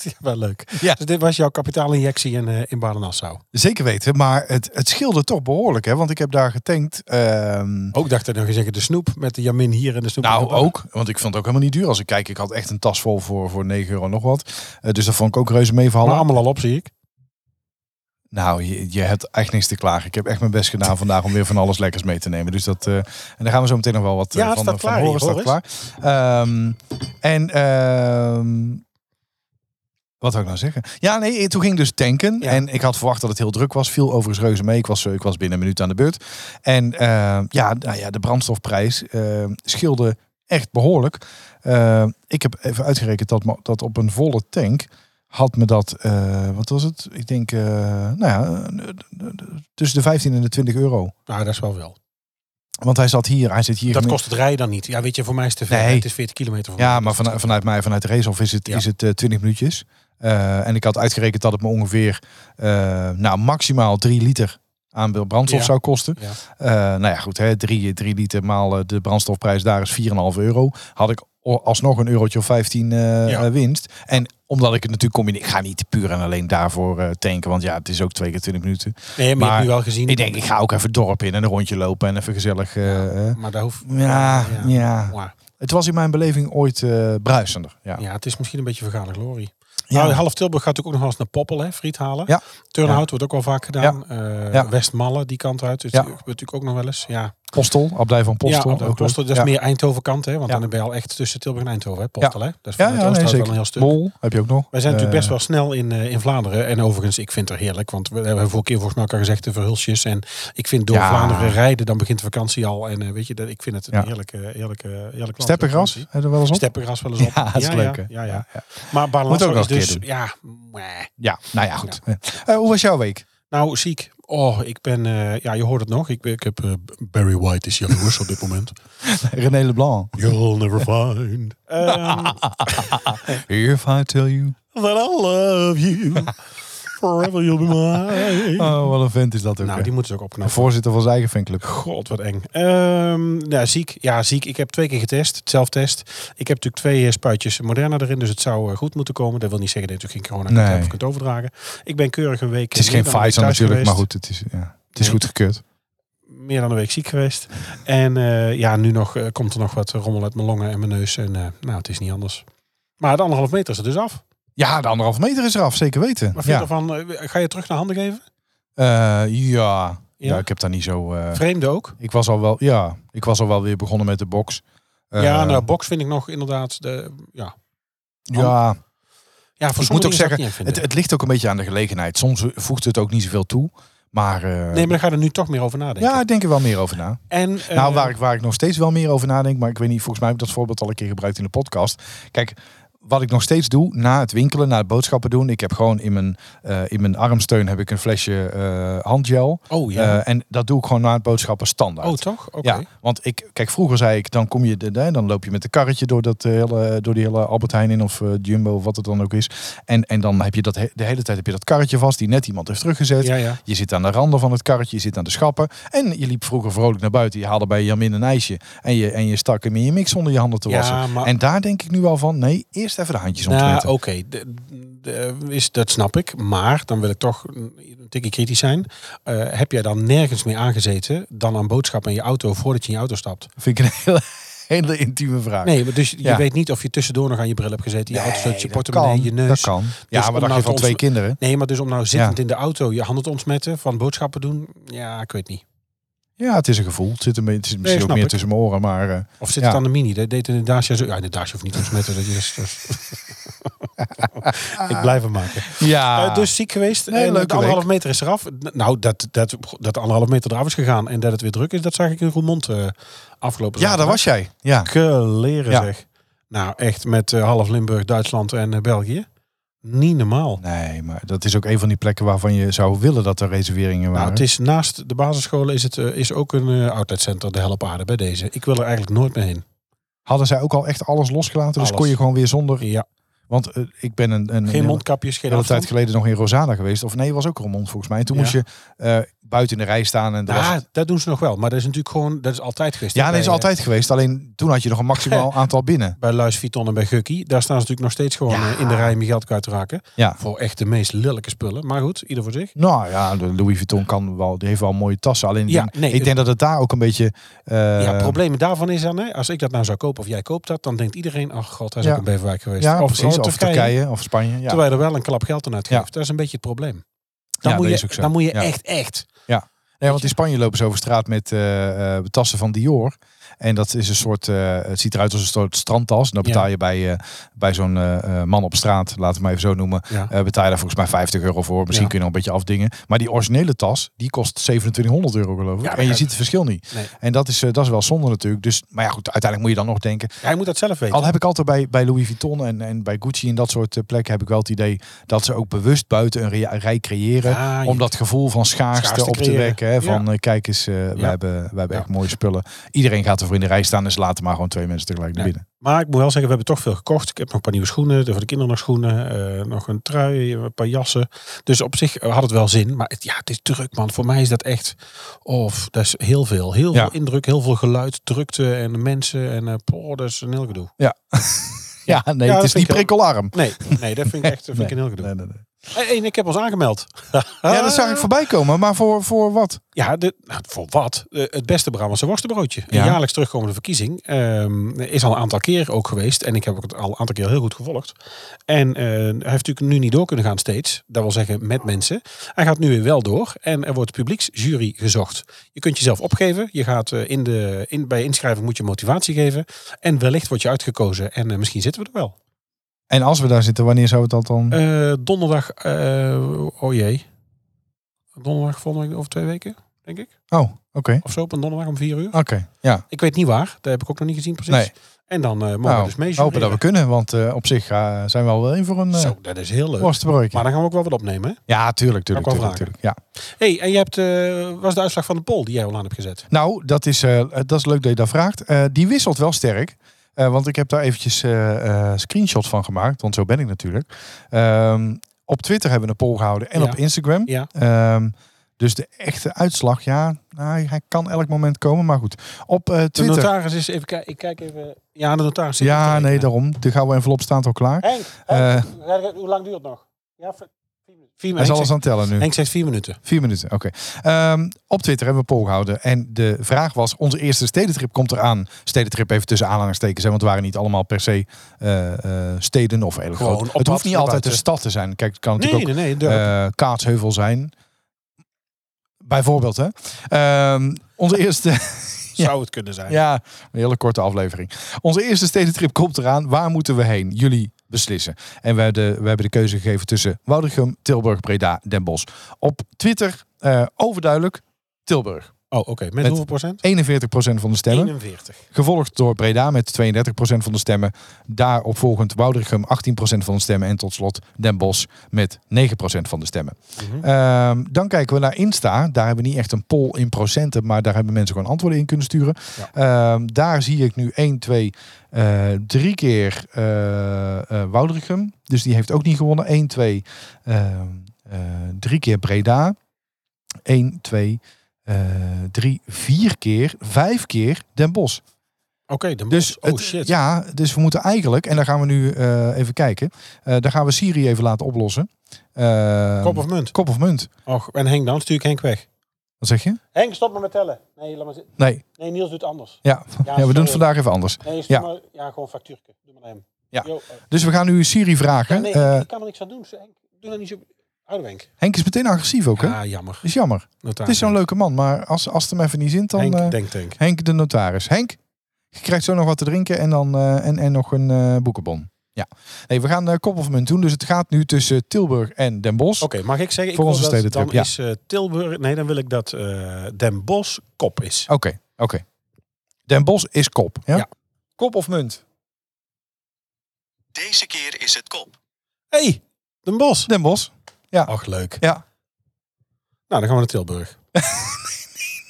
Speaker 3: ja, wel leuk.
Speaker 5: Ja.
Speaker 3: Dus dit was jouw kapitaalinjectie in, eh in Baden-Nassau.
Speaker 5: Zeker weten, maar het, het scheelde toch behoorlijk. Hè? Want ik heb daar getankt. ehm,
Speaker 3: Ook dacht ik nog eens zeggen, de snoep met de jamin hier en de snoep.
Speaker 5: Nou,
Speaker 3: met de bar.
Speaker 5: ook. Want ik vond het ook helemaal niet duur. Als ik kijk, ik had echt een tas vol voor, voor 9 euro nog wat. Eh, dus dat vond ik ook reuze
Speaker 3: Maar
Speaker 5: meevallen.
Speaker 3: allemaal al op, zie ik.
Speaker 5: Nou, je, je hebt echt niks te klagen. Ik heb echt mijn best gedaan vandaag om weer van alles lekkers mee te nemen. Dus dat, eh, en daar gaan we zo meteen nog wel wat eh,
Speaker 3: Ja, het
Speaker 5: van,
Speaker 3: staat
Speaker 5: van
Speaker 3: klaar
Speaker 5: horen.
Speaker 3: hier,
Speaker 5: staat klaar. Ehm, en ehm, wat wil ik nou zeggen? Ja, nee, toen ging ik dus tanken.
Speaker 3: Ja.
Speaker 5: En ik had verwacht dat het heel druk was. Viel overigens reuze mee. Ik was, eh, ik was binnen een minuut aan de beurt. En ehm, ja, nou ja, de brandstofprijs ehm, scheelde echt behoorlijk. Ehm, ik heb even uitgerekend dat, me- dat op een volle tank had me dat, eh, wat was het? Ik denk, eh, nou ja, eh, tussen de 15 en de 20 euro.
Speaker 3: Nou, dat is wel wel.
Speaker 5: Want hij zat hier, hij zit hier.
Speaker 3: Dat kost het rijden dan niet. Ja, weet je, voor mij is het te ver.
Speaker 5: Nee.
Speaker 3: Het is 40 kilometer voor
Speaker 5: Ja,
Speaker 3: mij.
Speaker 5: maar vanuit, vanuit mij, vanuit de racehof is het,
Speaker 3: Ja.
Speaker 5: is het eh, 20 minuutjes. Eh, en ik had uitgerekend dat het me ongeveer eh, nou, maximaal 3 liter aan brandstof
Speaker 3: Ja.
Speaker 5: zou kosten.
Speaker 3: Ja.
Speaker 5: Eh, nou ja, goed, 3 liter maal eh, de brandstofprijs daar is 4,5 euro. Had ik o- alsnog een eurotje of 15 eh,
Speaker 3: Ja.
Speaker 5: eh, winst. En omdat ik het natuurlijk combineer, ik ga niet puur en alleen daarvoor eh, tanken. Want ja, het is ook twee keer 20 minuten.
Speaker 3: Nee, maar, je
Speaker 5: maar
Speaker 3: hebt nu wel gezien.
Speaker 5: Ik denk, ik ga ook even het dorp in en een rondje lopen en even gezellig. eh, eh.
Speaker 3: Maar daar hoeft...
Speaker 5: ja, ja,
Speaker 3: Maar,
Speaker 5: Het was in mijn beleving ooit eh, bruisender. Ja.
Speaker 3: ja, het is misschien een beetje vergane glorie.
Speaker 5: Ja.
Speaker 3: Nou, half Tilburg gaat natuurlijk ook nog wel eens naar Poppel, hè, friet halen.
Speaker 5: Ja.
Speaker 3: Turnhout wordt ook wel vaak gedaan. Eh
Speaker 5: Ja.
Speaker 3: Westmalle, die kant uit. Dus
Speaker 5: Ja.
Speaker 3: die gebeurt natuurlijk ook nog wel eens. Ja,
Speaker 5: Postel, Abdij van Postel.
Speaker 3: ja,
Speaker 5: ook
Speaker 3: ook Postel,
Speaker 5: leuk.
Speaker 3: dat is
Speaker 5: ja.
Speaker 3: meer Eindhoven kant, hè? Want
Speaker 5: Ja.
Speaker 3: dan ben je al echt tussen Tilburg en Eindhoven, hè? Postel, hè? Dat
Speaker 5: Ja,
Speaker 3: is vanuit
Speaker 5: ja, nee,
Speaker 3: Oosterhout wel
Speaker 5: zeker.
Speaker 3: een heel stuk.
Speaker 5: Mol heb je ook nog.
Speaker 3: Wij zijn natuurlijk
Speaker 5: Eh,
Speaker 3: best wel snel in, eh, in Vlaanderen. En overigens, ik vind het er heerlijk. Want we hebben vorige keer volgens mij elkaar gezegd de verhulsjes. En ik vind door
Speaker 5: Ja.
Speaker 3: Vlaanderen rijden, dan begint de vakantie al. En eh, weet je, dat, ik vind het een
Speaker 5: Ja.
Speaker 3: heerlijke, heerlijke, heerlijk land.
Speaker 5: Steppengras,
Speaker 3: vakantie.
Speaker 5: heb je er wel eens op?
Speaker 3: Steppengras wel eens op.
Speaker 5: Ja, dat is leuk, hè?
Speaker 3: Ja, ja, ja. Maar Baarland
Speaker 5: Moet ook
Speaker 3: is
Speaker 5: nog een keer
Speaker 3: dus,
Speaker 5: doen.
Speaker 3: ja, meh.
Speaker 5: Ja, nou ja, goed. Eh, hoe was jouw week?
Speaker 3: nou ziek. Oh, ik ben... eh, ja, je hoort het nog. Ik, ben- ik heb... eh, Barry White is jaloers op dit moment.
Speaker 2: René Leblanc.
Speaker 3: You'll never find... ehm,
Speaker 2: If I tell you.
Speaker 3: that I love you. Forever you'll be mine.
Speaker 2: Oh, wat een vent is dat ook.
Speaker 3: nou,
Speaker 2: hè.
Speaker 3: die moeten ze ook
Speaker 2: De
Speaker 3: opknappen.
Speaker 2: voorzitter van zijn eigen fanclub.
Speaker 3: God, wat eng. Ehm nou, ziek. Ja, ziek. Ik heb twee keer getest. Zelftest. Ik heb natuurlijk twee eh, spuitjes Moderna erin. Dus het zou eh, goed moeten komen. Dat wil niet zeggen dat je natuurlijk geen corona
Speaker 2: Nee.
Speaker 3: kunt, hebben of kunt overdragen. Ik ben keurig een week...
Speaker 2: Het is
Speaker 3: eh,
Speaker 2: geen
Speaker 3: meer dan een week
Speaker 2: Pfizer
Speaker 3: thuis
Speaker 2: natuurlijk, maar
Speaker 3: geweest.
Speaker 2: goed, het is, ja, het is
Speaker 3: Nee.
Speaker 2: goed gekeurd.
Speaker 3: Meer dan een week ziek geweest. En eh, ja, nu nog, eh, komt er nog wat rommel uit mijn longen en mijn neus. En eh, nou, het is niet anders. Maar de anderhalf meter is er dus af. Wat
Speaker 2: Ja, de anderhalf meter is eraf, zeker weten.
Speaker 3: vind je
Speaker 2: ja.
Speaker 3: ervan? Eh, Ga je terug naar handen geven?
Speaker 2: Eh, ja.
Speaker 3: Ja?
Speaker 2: ja, ik heb daar niet zo... eh,
Speaker 3: Vreemde ook.
Speaker 2: ik, was al wel, ja, ik was al wel weer begonnen met de box. Eh,
Speaker 3: ja, nou, box vind ik nog inderdaad... De, ja.
Speaker 2: Ja,
Speaker 3: ja, voor
Speaker 2: ik moet
Speaker 3: sommige
Speaker 2: ook
Speaker 3: dingen zou ik
Speaker 2: zeggen,
Speaker 3: niet erg
Speaker 2: het,
Speaker 3: vinden.
Speaker 2: het ligt ook een beetje aan de gelegenheid. Soms voegt het ook niet zoveel toe. Maar, eh,
Speaker 3: Nee, maar daar ga je er nu toch meer over nadenken.
Speaker 2: ja, ik denk er wel meer over na.
Speaker 3: En,
Speaker 2: nou,
Speaker 3: eh,
Speaker 2: waar ik, waar ik nog steeds wel meer over nadenk, maar ik weet niet, volgens mij heb ik dat voorbeeld al een keer gebruikt in de podcast. Kijk, wat ik nog steeds doe na het winkelen, na het boodschappen doen, ik heb gewoon in mijn, eh, in mijn armsteun heb ik een flesje eh, handgel.
Speaker 3: Oh ja.
Speaker 2: Eh, en dat doe ik gewoon na het boodschappen standaard.
Speaker 3: oh, toch? Oké.
Speaker 2: eh, Ja, want ik, kijk, vroeger zei ik, dan kom je, de, hè, dan loop je met een karretje door, dat eh, hele, door die hele Albert Heijn in of eh, Jumbo of wat het dan ook is. En, en dan heb je dat, he- de hele tijd heb je dat karretje vast, die net iemand heeft teruggezet.
Speaker 3: Ja, ja.
Speaker 2: Je zit aan de randen van het karretje, je zit aan de schappen. En je liep vroeger vrolijk naar buiten. Je haalde bij Jamin een ijsje. En je, en je stak hem in je mix onder je handen te
Speaker 3: Ja,
Speaker 2: wassen.
Speaker 3: maar-
Speaker 2: En daar denk ik nu al van, nee, eerst even de handjes
Speaker 3: Nou,
Speaker 2: ontweten.
Speaker 3: oké. de- de- is- Dat snap ik. Maar dan wil ik toch een tikje kritisch zijn. Eh, heb jij dan nergens meer aangezeten dan aan boodschappen in je auto voordat je in je auto stapt?
Speaker 2: Vind ik een hele, hele intieme vraag.
Speaker 3: Nee, maar dus je
Speaker 2: Ja.
Speaker 3: weet niet of je tussendoor nog aan je bril hebt gezeten. Je auto
Speaker 2: Nee,
Speaker 3: staat, je
Speaker 2: dat
Speaker 3: portemonnee,
Speaker 2: kan,
Speaker 3: je neus.
Speaker 2: Dat kan. Ja,
Speaker 3: om
Speaker 2: maar dan
Speaker 3: nou
Speaker 2: heb je van
Speaker 3: te
Speaker 2: twee
Speaker 3: ontsma-
Speaker 2: kinderen.
Speaker 3: Nee, maar dus om nou zittend
Speaker 2: Ja.
Speaker 3: in de auto je handen te ontsmetten van boodschappen doen. Ja, ik weet niet.
Speaker 2: Ja, het is een gevoel. Het zit, een beetje- het zit misschien ook
Speaker 3: snap
Speaker 2: meer
Speaker 3: ik.
Speaker 2: tussen mijn oren, maar... eh,
Speaker 3: Of zit
Speaker 2: Ja.
Speaker 3: het aan de mini? Dat deed in de Dacia zo. Ja, in de Dacia hoeft niet te ontsmetten. Dat is, dat is- ik blijf hem maken.
Speaker 2: ja,
Speaker 3: Eh, dus ziek geweest.
Speaker 2: Ah. Nee,
Speaker 3: en de
Speaker 2: leuke
Speaker 3: anderhalf meter is eraf. N- Nou, dat, dat, dat de anderhalf meter eraf is gegaan en dat het weer druk is, dat zag ik in Roermond eh afgelopen
Speaker 2: ja, daar was jij. Ja.
Speaker 3: Geleren
Speaker 2: Ja.
Speaker 3: zeg. Nou, echt met eh, half Limburg, Duitsland en eh, België. Niet normaal.
Speaker 2: Nee, maar dat is ook een van die plekken waarvan je zou willen dat er reserveringen waren.
Speaker 3: Nou, het is naast de basisscholen is, het, eh, is ook een eh outletcenter, de Helpaarde, bij deze. Ik wil er eigenlijk nooit meer heen.
Speaker 2: Hadden zij ook al echt alles losgelaten? Dus
Speaker 3: Alles.
Speaker 2: kon je gewoon weer zonder...
Speaker 3: Ja.
Speaker 2: Want eh, ik ben een... een
Speaker 3: Geen
Speaker 2: een-
Speaker 3: mondkapjes, geen
Speaker 2: een hele tijd
Speaker 3: afstand.
Speaker 2: geleden nog in Rosada geweest. Of nee, was ook Roermond volgens mij. En toen
Speaker 3: Ja.
Speaker 2: moest je eh, buiten in de rij staan. En dat was-
Speaker 3: Ja, dat doen ze nog wel. Maar dat is natuurlijk gewoon, dat is altijd geweest.
Speaker 2: ja,
Speaker 3: hè,
Speaker 2: dat is
Speaker 3: bij, eh,
Speaker 2: altijd geweest. Alleen toen had je nog een maximaal aantal binnen.
Speaker 3: bij Luis Vuitton en bij Gukkie. Daar staan ze natuurlijk nog steeds gewoon
Speaker 2: Ja.
Speaker 3: eh, in de rij om je geld kwijt te raken.
Speaker 2: Ja.
Speaker 3: Voor echt de meest lelijke spullen. Maar goed, ieder voor zich.
Speaker 2: Nou ja, de Louis Vuitton kan wel, die heeft wel mooie tassen. Alleen
Speaker 3: Ja,
Speaker 2: die-
Speaker 3: nee,
Speaker 2: ik denk dat het daar ook een beetje... eh,
Speaker 3: ja, het probleem daarvan is dan, hè, als ik dat nou zou kopen of jij koopt dat, dan denkt iedereen, ach god, hij is
Speaker 2: Ja.
Speaker 3: ook in Beverwijk geweest.
Speaker 2: ja,
Speaker 3: of,
Speaker 2: precies.
Speaker 3: oh,
Speaker 2: Of Turkije. of Spanje. Ja.
Speaker 3: Terwijl je er wel een klap geld aan uitgeeft.
Speaker 2: Ja.
Speaker 3: Dat is een beetje het probleem. Dan
Speaker 2: Ja, dat
Speaker 3: moet je,
Speaker 2: is ook zo.
Speaker 3: Dan moet je
Speaker 2: Ja.
Speaker 3: echt, echt.
Speaker 2: Nee, want in Spanje lopen ze over straat met eh, eh, tassen van Dior. En dat is een soort, eh, het ziet eruit als een soort strandtas. En dan betaal je bij, eh, bij zo'n eh, eh, man op straat, laten we het maar even zo noemen.
Speaker 3: Ja.
Speaker 2: eh, betaal je daar volgens mij 50 euro voor. Misschien
Speaker 3: Ja.
Speaker 2: kun je nog een beetje afdingen. Maar die originele tas, die kost 2700 euro geloof ik.
Speaker 3: Ja,
Speaker 2: en je
Speaker 3: ja.
Speaker 2: ziet het verschil niet.
Speaker 3: Nee.
Speaker 2: En dat is, eh, dat is wel zonde natuurlijk. Dus, maar ja goed, uiteindelijk moet je dan nog denken.
Speaker 3: Hij moet dat zelf weten.
Speaker 2: Al heb ik altijd bij, bij Louis Vuitton en, en bij Gucci en dat soort eh, plekken heb ik wel het idee dat ze ook bewust buiten een rea- rij creëren.
Speaker 3: Ah, Ja, je-
Speaker 2: om dat gevoel van schaarste,
Speaker 3: Schaarste
Speaker 2: op te
Speaker 3: creëren.
Speaker 2: wekken. Hè, van eh, kijk eens, eh, we
Speaker 3: Ja.
Speaker 2: hebben, we hebben
Speaker 3: Ja.
Speaker 2: echt mooie spullen. Iedereen gaat ervoor in de rij staan. Dus laten maar gewoon twee mensen tegelijk naar
Speaker 3: Ja.
Speaker 2: binnen.
Speaker 3: Maar ik moet wel zeggen, we hebben toch veel gekocht. Ik heb nog een paar nieuwe schoenen, voor de kinderen nog schoenen, eh, nog een trui, een paar jassen. Dus op zich eh, had het wel zin. Maar het, ja, het is druk, man. Voor mij is dat echt, of dat is heel veel. Heel
Speaker 2: Ja.
Speaker 3: veel indruk, heel veel geluid, drukte en mensen. En eh poh, dat is een heel gedoe.
Speaker 2: Ja, nee,
Speaker 3: Ja,
Speaker 2: het
Speaker 3: dat
Speaker 2: is
Speaker 3: vind
Speaker 2: niet
Speaker 3: ik heel-
Speaker 2: prikkelarm.
Speaker 3: Nee, nee dat vind ik echt dat vind ik een heel gedoe. Ah.
Speaker 2: Nee, nee, nee.
Speaker 3: Hey, en ik heb ons aangemeld.
Speaker 2: Ja, dat zag ik voorbij komen. Maar voor, voor wat?
Speaker 3: Ja, de, nou, voor wat? Eh, het beste Brabantse worstenbroodje.
Speaker 2: Ja.
Speaker 3: Een jaarlijks terugkomende verkiezing. ehm, is al een aantal keer ook geweest. En ik heb het al een aantal keer heel goed gevolgd. En eh, hij heeft natuurlijk nu niet door kunnen gaan steeds. Dat wil zeggen met mensen. Hij gaat nu weer wel door. En er wordt publieksjury gezocht. Je kunt jezelf opgeven. Je gaat eh, in de, in, bij inschrijving moet je motivatie geven. En wellicht word je uitgekozen. En eh, misschien zitten we er wel.
Speaker 2: En als we daar zitten, wanneer zou het dat dan?
Speaker 3: Eh, donderdag, eh, oh jee. Donderdag volgende week over twee weken? denk ik.
Speaker 2: Oh, oké.
Speaker 3: Of zo, op een donderdag om vier uur.
Speaker 2: Oké, ja.
Speaker 3: Ik weet niet waar. Dat heb ik ook nog niet gezien precies.
Speaker 2: Nee.
Speaker 3: En dan eh mogen we
Speaker 2: Nou,
Speaker 3: dus mee
Speaker 2: hopen dat we
Speaker 3: jureren.
Speaker 2: kunnen, want eh, op zich eh, zijn we al wel in voor een eh
Speaker 3: Zo, dat is heel leuk.
Speaker 2: worstenbroodje.
Speaker 3: Maar dan gaan we ook wel wat opnemen. Hè?
Speaker 2: Ja, tuurlijk, tuurlijk,
Speaker 3: Kan ik wel
Speaker 2: tuurlijk, tuurlijk. Ja.
Speaker 3: hey, en je hebt, eh was de uitslag van de poll die jij al aan hebt gezet?
Speaker 2: Nou, dat is, eh, dat is leuk dat je dat vraagt. Eh, die wisselt wel sterk. Eh, want ik heb daar eventjes eh, eh, screenshots van gemaakt. Want zo ben ik natuurlijk. Ehm, op Twitter hebben we een poll gehouden. En
Speaker 3: Ja.
Speaker 2: op Instagram.
Speaker 3: Ja.
Speaker 2: Ehm, dus de echte uitslag, ja, nou, hij kan elk moment komen. Maar goed, op eh,
Speaker 3: De
Speaker 2: Twitter.
Speaker 3: notaris is even kijken. Ik kijk even. Ja, de notaris. zit te
Speaker 2: Ja,
Speaker 3: rekenen.
Speaker 2: nee, daarom. De gouden envelop staat al klaar.
Speaker 3: Henk,
Speaker 2: Eh,
Speaker 3: Henk, hoe lang duurt het nog? Ja, v- vier minuten. Vier
Speaker 2: hij
Speaker 3: minuten.
Speaker 2: zal alles
Speaker 3: Henk, zegt,
Speaker 2: aan het tellen nu.
Speaker 3: Henk zegt vier minuten.
Speaker 2: Vier minuten, oké. Ehm, op Twitter hebben we een poll gehouden. En de vraag was, onze eerste stedentrip komt eraan. Stedentrip even tussen aanhalingstekens. Hè, want het waren niet allemaal per se eh, eh, steden of hele
Speaker 3: Gewoon
Speaker 2: grote.
Speaker 3: op
Speaker 2: Het
Speaker 3: pad
Speaker 2: hoeft niet
Speaker 3: naar
Speaker 2: altijd een
Speaker 3: buiten.
Speaker 2: stad te zijn. Kijk, het kan
Speaker 3: Nee,
Speaker 2: natuurlijk ook
Speaker 3: nee, nee. dorp.
Speaker 2: eh, Kaatsheuvel zijn. Ehm, Bijvoorbeeld, hè. Ehm, onze eerste...
Speaker 3: Zou het kunnen zijn.
Speaker 2: Ja, een hele korte aflevering. Onze eerste stedentrip komt eraan. Waar moeten we heen? Jullie beslissen. En we hebben de, we hebben de keuze gegeven tussen Woudrichem, Tilburg, Breda, Den Bosch. Op Twitter eh, overduidelijk Tilburg.
Speaker 3: Oh, oké. Met,
Speaker 2: Met
Speaker 3: hoeveel procent?
Speaker 2: 41% van de stemmen.
Speaker 3: 41.
Speaker 2: Gevolgd door Breda met 32% van de stemmen. Daaropvolgend Woudrichem 18% van de stemmen. En tot slot Den Bosch met 9% van de stemmen.
Speaker 3: Mhm.
Speaker 2: Ehm, dan kijken we naar Insta. Daar hebben we niet echt een poll in procenten. Maar daar hebben mensen gewoon antwoorden in kunnen sturen. Ehm, daar zie ik nu 1, 2, eh drie keer eh eh, Woudrichem. Dus die heeft ook niet gewonnen. 1, 2, ehm, eh, drie keer Breda. 1, 2, eh drie, vier keer, vijf keer Den Bosch.
Speaker 3: Oké, dan
Speaker 2: Dus,
Speaker 3: dus oh
Speaker 2: het-
Speaker 3: shit.
Speaker 2: Ja, dus we moeten eigenlijk, en daar gaan we nu eh, even kijken. Eh daar gaan we Siri even laten oplossen. Ehm,
Speaker 3: Kop of munt?
Speaker 2: kop of munt.
Speaker 3: Och, en Henk dan? Stuur ik Henk weg.
Speaker 2: Wat zeg je?
Speaker 3: Henk, stop maar met tellen. Nee, laat maar zitten.
Speaker 2: Nee,
Speaker 3: Nee, Niels doet anders.
Speaker 2: ja. ja, we doen
Speaker 3: sorry.
Speaker 2: het vandaag even anders.
Speaker 3: Nee,
Speaker 2: Ja.
Speaker 3: Maar, ja, gewoon factuurke. Doe maar naar hem.
Speaker 2: Ja.
Speaker 3: Jo, eh,
Speaker 2: Dus we gaan nu Siri vragen.
Speaker 3: nee,
Speaker 2: Eh,
Speaker 3: ik kan er niks aan doen. Henk, doe dat niet zo... Oude Henk.
Speaker 2: Henk is meteen agressief ook, hè?
Speaker 3: Ah, jammer.
Speaker 2: is jammer.
Speaker 3: Notaris.
Speaker 2: Het is zo'n leuke man, maar als, als het hem even niet zint, dan
Speaker 3: Henk,
Speaker 2: eh,
Speaker 3: denk, denk.
Speaker 2: Henk de notaris. Henk, je krijgt zo nog wat te drinken en, dan, eh, en, en nog een eh, boekenbon. Ja. Nee, we gaan eh kop of munt doen, dus het gaat nu tussen Tilburg en Den Bosch.
Speaker 3: Oké, mag ik zeggen? Ik
Speaker 2: Voor
Speaker 3: wil
Speaker 2: onze
Speaker 3: dat-
Speaker 2: stedentrip,
Speaker 3: Dan
Speaker 2: ja.
Speaker 3: is eh, Tilburg... Nee, dan wil ik dat eh, Den Bosch kop is.
Speaker 2: Oké, oké. Den Bosch is kop, ja?
Speaker 3: Ja.
Speaker 2: Kop of munt?
Speaker 6: Deze keer is het kop.
Speaker 3: hey, Den Bosch.
Speaker 2: Den Bosch.
Speaker 3: Ach, leuk.
Speaker 2: Ja.
Speaker 3: Nou, dan gaan we naar Tilburg.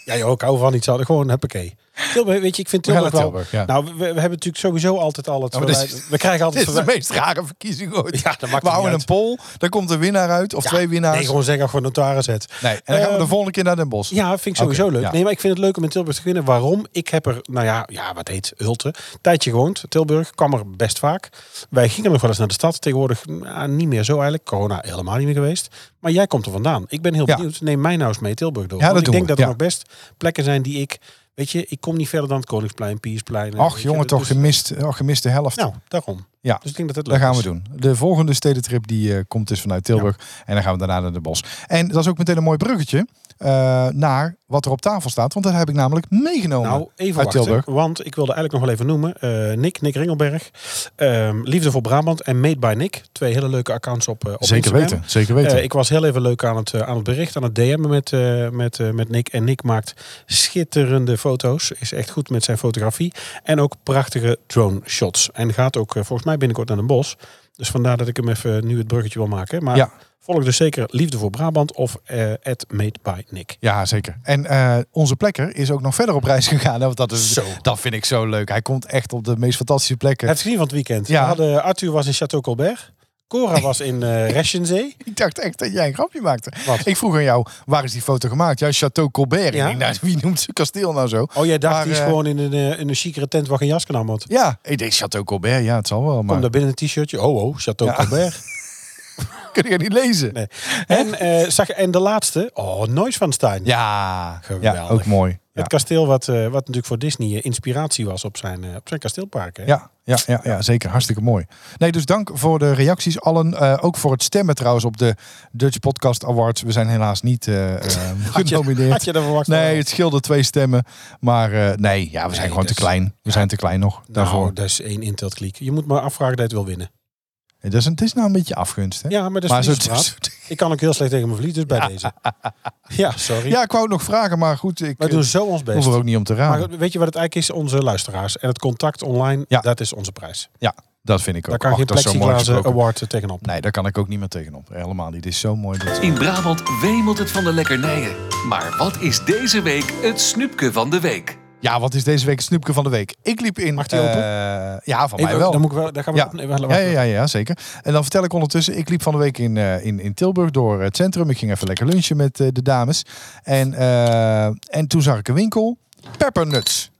Speaker 3: ja, joh, ik hou van iets anders. Gewoon huppakee. Tilburg, weet je, ik vind
Speaker 2: We gaan naar
Speaker 3: Tilburg wel...
Speaker 2: Tilburg, ja.
Speaker 3: Nou, we, we hebben natuurlijk sowieso altijd al het...
Speaker 2: Oh, dit is-
Speaker 3: verwijt- we krijgen
Speaker 2: Dit
Speaker 3: altijd...
Speaker 2: is de
Speaker 3: verwijt-
Speaker 2: meest rare verkiezing ooit.
Speaker 3: Ja, dat maakt
Speaker 2: we
Speaker 3: het niet
Speaker 2: houden een
Speaker 3: uit.
Speaker 2: poll, dan komt een winnaar uit, of twee winnaars.
Speaker 3: Nee,
Speaker 2: Nee,
Speaker 3: gewoon zeggen voor notaris het.
Speaker 2: en dan gaan we de
Speaker 3: Ehm,
Speaker 2: volgende keer naar Den Bosch.
Speaker 3: Ja, vind ik sowieso
Speaker 2: Oké,
Speaker 3: leuk.
Speaker 2: ja.
Speaker 3: Nee, maar ik vind het leuk om in Tilburg te winnen. Waarom? Ik heb er, nou ja, ja wat heet Hulte, tijdje gewoond. Tilburg kwam er best vaak. Wij gingen nog wel eens naar de stad. Tegenwoordig nou, niet meer zo eigenlijk. Corona helemaal niet meer geweest. Maar jij komt er vandaan. Ik ben heel
Speaker 2: Ja.
Speaker 3: benieuwd. Neem mij nou eens mee Tilburg door.
Speaker 2: Ja,
Speaker 3: Want
Speaker 2: dat
Speaker 3: ik
Speaker 2: doen we,
Speaker 3: denk dat er
Speaker 2: ja.
Speaker 3: nog best plekken zijn die ik, weet je, ik kom niet verder dan het Koningsplein, Piersplein. en weet
Speaker 2: Ach
Speaker 3: je,
Speaker 2: jongen, toch
Speaker 3: dus-
Speaker 2: gemist, oh, gemist de helft.
Speaker 3: nou, daarom.
Speaker 2: Ja.
Speaker 3: Dus ik denk dat het leuk
Speaker 2: Dat gaan we
Speaker 3: is.
Speaker 2: doen. De volgende stedentrip die eh, komt dus vanuit Tilburg. En dan gaan we daarna naar de bos. En dat is ook meteen een mooi bruggetje eh, naar wat er op tafel staat. Want dat heb ik namelijk meegenomen
Speaker 3: Nou, even
Speaker 2: uit
Speaker 3: wachten,
Speaker 2: Tilburg.
Speaker 3: want ik wilde eigenlijk nog wel even noemen. eh, Nick, Nick Ringelberg, ehm, Liefde voor Brabant en Made by Nick. Twee hele leuke accounts op, eh, op Instagram.
Speaker 2: zeker
Speaker 3: Eh, ik was heel even leuk aan het, eh, aan het bericht, aan het DM'en met, eh, met, eh, met Nick. En Nick maakt schitterende foto's. Is echt goed met zijn fotografie. En ook prachtige drone shots. En gaat ook eh, volgens mij binnenkort naar een bos. Dus vandaar dat ik hem even nu het bruggetje wil maken. Maar
Speaker 2: Ja.
Speaker 3: volg dus zeker Liefde voor Brabant of eh Made by Nick.
Speaker 2: ja, zeker. En eh, onze plekker is ook nog verder op reis gegaan. hè, want dat, is,
Speaker 3: Zo.
Speaker 2: dat vind ik zo leuk. Hij komt echt op de meest fantastische plekken.
Speaker 3: Heb je gezien van het weekend?
Speaker 2: Ja.
Speaker 3: We hadden, Arthur was in Chateau Colbert. Cora was in eh Reschenzee.
Speaker 2: Ik dacht echt dat jij een grapje maakte.
Speaker 3: Wat?
Speaker 2: Ik vroeg aan jou, waar is die foto gemaakt? Ja, Chateau Colbert.
Speaker 3: Ja.
Speaker 2: Ik denk, nou, wie noemt zijn kasteel nou zo?
Speaker 3: Oh, jij dacht,
Speaker 2: Maar,
Speaker 3: die is
Speaker 2: eh,
Speaker 3: gewoon in een, eh, in een chicere tent waar geen jas aan moet.
Speaker 2: Ja, ik denk Chateau Colbert. Ja, het zal wel.
Speaker 3: Kom
Speaker 2: Maar
Speaker 3: daar binnen een t-shirtje. Oh, oh, Chateau
Speaker 2: Ja.
Speaker 3: Colbert.
Speaker 2: kun je niet lezen.
Speaker 3: Nee. En, eh, zag, en de laatste. Oh, Nois van Stein.
Speaker 2: Ja,
Speaker 3: Geweldig.
Speaker 2: ja, ook mooi. Ja.
Speaker 3: Het kasteel wat, eh, wat natuurlijk voor Disney eh, inspiratie was op zijn, eh, op zijn kasteelpark. Hè?
Speaker 2: Ja, ja, ja, ja, zeker. Hartstikke mooi. Nee, dus dank voor de reacties allen. Eh, ook voor het stemmen trouwens op de Dutch Podcast Awards. We zijn helaas niet eh, eh,
Speaker 3: Had je,
Speaker 2: genomineerd.
Speaker 3: had je dat verwacht? Nou,
Speaker 2: Nee, het scheelde twee stemmen. Maar eh, nee, ja, we zijn
Speaker 3: Nee,
Speaker 2: gewoon
Speaker 3: dus-
Speaker 2: te klein. We zijn te klein nog
Speaker 3: daarvoor.
Speaker 2: daarvoor.
Speaker 3: Nou, dat is één inteltkliek. Je moet maar afvragen dat je het wil winnen.
Speaker 2: Dat is, een- het is nou een beetje afgunst, hè?
Speaker 3: Ja, maar dat is
Speaker 2: Maar zo-
Speaker 3: Friesland.
Speaker 2: zo-
Speaker 3: Ik kan ook heel slecht tegen mijn verlies, dus bij deze. Ja, sorry.
Speaker 2: Ja, ik wou het nog vragen, maar goed, ik
Speaker 3: Wij
Speaker 2: eh,
Speaker 3: doen zo ons
Speaker 2: hoef
Speaker 3: best.
Speaker 2: er ook niet om te raden.
Speaker 3: Maar weet je wat het eigenlijk is? Onze luisteraars. En het contact online,
Speaker 2: Ja.
Speaker 3: dat is onze prijs.
Speaker 2: ja, dat vind ik ook.
Speaker 3: Daar kan
Speaker 2: Och,
Speaker 3: geen
Speaker 2: dat is zo mooi
Speaker 3: plexiglazen
Speaker 2: gesproken.
Speaker 3: award eh, tegenop.
Speaker 2: Nee, daar kan ik ook niet meer tegenop. Helemaal niet. Dit is zo mooi. Dit.
Speaker 1: In Brabant wemelt het van de lekkernijen. Maar wat is deze week het snoepje van de week?
Speaker 2: Ja, wat is deze week het snoepje van de week? Ik liep in...
Speaker 3: Mag die open?
Speaker 2: eh, ja, van mij
Speaker 3: Even-
Speaker 2: wel.
Speaker 3: Dan moet ik wel, daar gaan we
Speaker 2: Ja.
Speaker 3: op- nee, wacht,
Speaker 2: Ja,
Speaker 3: wacht.
Speaker 2: ja, ja, ja, zeker. En dan vertel ik ondertussen, ik liep van de week in, eh, in, in Tilburg door het centrum. Ik ging even lekker lunchen met eh, de dames. En, eh, en toen zag ik een winkel, peppernuts.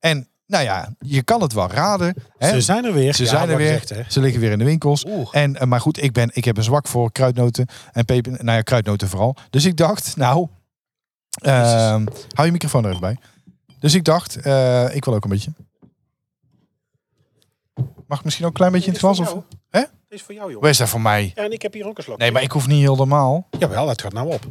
Speaker 2: En nou ja, je kan het wel raden. Hè?
Speaker 3: Ze zijn er weer.
Speaker 2: Ze
Speaker 3: Ja,
Speaker 2: zijn er
Speaker 3: wat
Speaker 2: weer.
Speaker 3: gezegd, hè.
Speaker 2: Ze liggen weer in de winkels.
Speaker 3: Oeh.
Speaker 2: En, eh, maar goed, ik, ben, ik heb een zwak voor kruidnoten en peper. Nou ja, kruidnoten vooral. Dus ik dacht, nou. ehm, hou je microfoon er even bij. Dus ik dacht, eh, ik wil ook een beetje. Mag ik misschien ook een klein beetje in
Speaker 3: Dit
Speaker 2: het
Speaker 3: is
Speaker 2: was?
Speaker 3: voor
Speaker 2: Of?
Speaker 3: jou.
Speaker 2: Hè?
Speaker 3: Dit is voor jou, jongen.
Speaker 2: Waar is dat voor mij?
Speaker 3: Ja, en ik heb hier ook een slok.
Speaker 2: Nee, maar ik hoef niet heel normaal. Oké.
Speaker 3: Jawel, dat gaat nou op.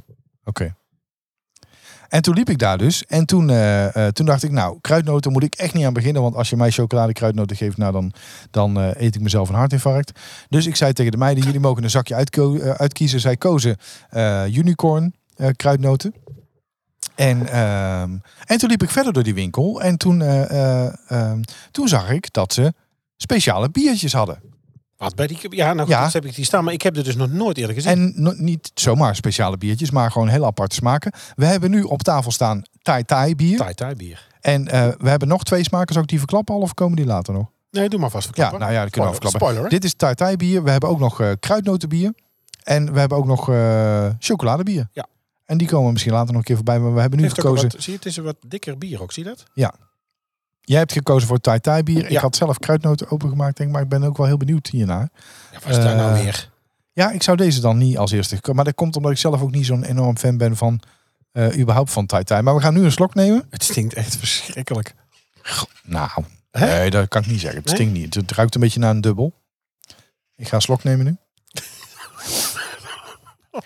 Speaker 2: En toen liep ik daar dus. En toen, eh, eh, toen dacht ik, nou, kruidnoten moet ik echt niet aan beginnen. Want als je mij chocoladekruidnoten geeft, nou dan, dan eh, eet ik mezelf een hartinfarct. Dus ik zei tegen de meiden, jullie mogen een zakje uitko- eh, uitkiezen. Zij kozen eh, unicorn eh, kruidnoten. En, ehm, en toen liep ik verder door die winkel. En toen, eh, eh, ehm, toen zag ik dat ze speciale biertjes hadden.
Speaker 3: Wat bij die... Ja, nou goed,
Speaker 2: Ja.
Speaker 3: dat heb ik die staan. Maar ik heb dit dus nog nooit eerder gezien.
Speaker 2: En no- niet zomaar speciale biertjes, maar gewoon hele aparte smaken. We hebben nu op tafel staan Thai Thai bier.
Speaker 3: Thai Thai bier.
Speaker 2: En eh, we hebben nog twee smaken. Zou ik die verklappen al of komen die later nog?
Speaker 3: Nee, doe maar vast verklappen.
Speaker 2: Ja, nou ja, dat kunnen we
Speaker 3: Spoiler,
Speaker 2: verklappen.
Speaker 3: Spoiler, hè?
Speaker 2: Dit is Thai Thai bier. We hebben ook nog eh, kruidnotenbier. En we hebben ook nog eh, chocoladebier.
Speaker 3: Ja.
Speaker 2: En die komen misschien later nog een keer voorbij. Maar we hebben nu
Speaker 3: Heeft ook een
Speaker 2: gekozen.
Speaker 3: wat- zie je, het is een wat dikker bier ook, zie je dat?
Speaker 2: Jij hebt gekozen voor Thai Thai bier. Ik
Speaker 3: Ja.
Speaker 2: had zelf kruidnoten opengemaakt. Denk, ik, maar ik ben ook wel heel benieuwd hiernaar.
Speaker 3: Ja, wat is daar nou
Speaker 2: Eh,
Speaker 3: weer?
Speaker 2: Ja, ik zou deze dan niet als eerste. geko- Maar dat komt omdat ik zelf ook niet zo'n enorm fan ben van. eh, überhaupt van Thai Thai. Maar we gaan nu een slok nemen.
Speaker 3: Het stinkt echt verschrikkelijk.
Speaker 2: Nou,
Speaker 3: Hè?
Speaker 2: nee, dat kan ik niet zeggen. Het
Speaker 3: Nee?
Speaker 2: stinkt niet. Het ruikt een beetje naar een dubbel. Ik ga een slok nemen nu.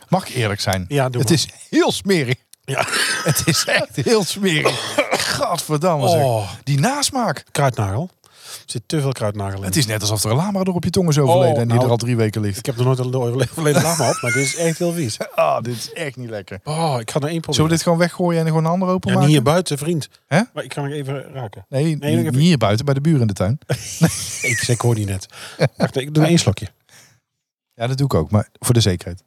Speaker 2: Mag ik eerlijk zijn?
Speaker 3: Ja, doe
Speaker 2: het
Speaker 3: maar.
Speaker 2: is heel smerig.
Speaker 3: Ja.
Speaker 2: Het is echt heel smerig. Gadverdamme
Speaker 3: Oh,
Speaker 2: zeg. Die nasmaak.
Speaker 3: kruidnagel. Er zit te veel kruidnagel in.
Speaker 2: Het is net alsof er een lama er op je tong is overleden.
Speaker 3: Oh,
Speaker 2: en die
Speaker 3: nou.
Speaker 2: er al drie weken ligt.
Speaker 3: Ik heb nog nooit een overle- overleden lama op, maar dit is echt heel vies.
Speaker 2: Ah, dit is echt niet lekker.
Speaker 3: Oh, ik ga er één proberen.
Speaker 2: Zullen we dit gewoon weggooien en er gewoon een ander
Speaker 3: Ja, niet
Speaker 2: openmaken?
Speaker 3: hier buiten, vriend.
Speaker 2: Hè?
Speaker 3: Maar ik kan hem even raken.
Speaker 2: nee,
Speaker 3: Nee, nog
Speaker 2: niet
Speaker 3: even-
Speaker 2: hier buiten, bij de buren in de tuin.
Speaker 3: Ik, ik hoor die net. Wacht, ik doe één slokje.
Speaker 2: Ja, dat doe ik ook, maar voor de zekerheid.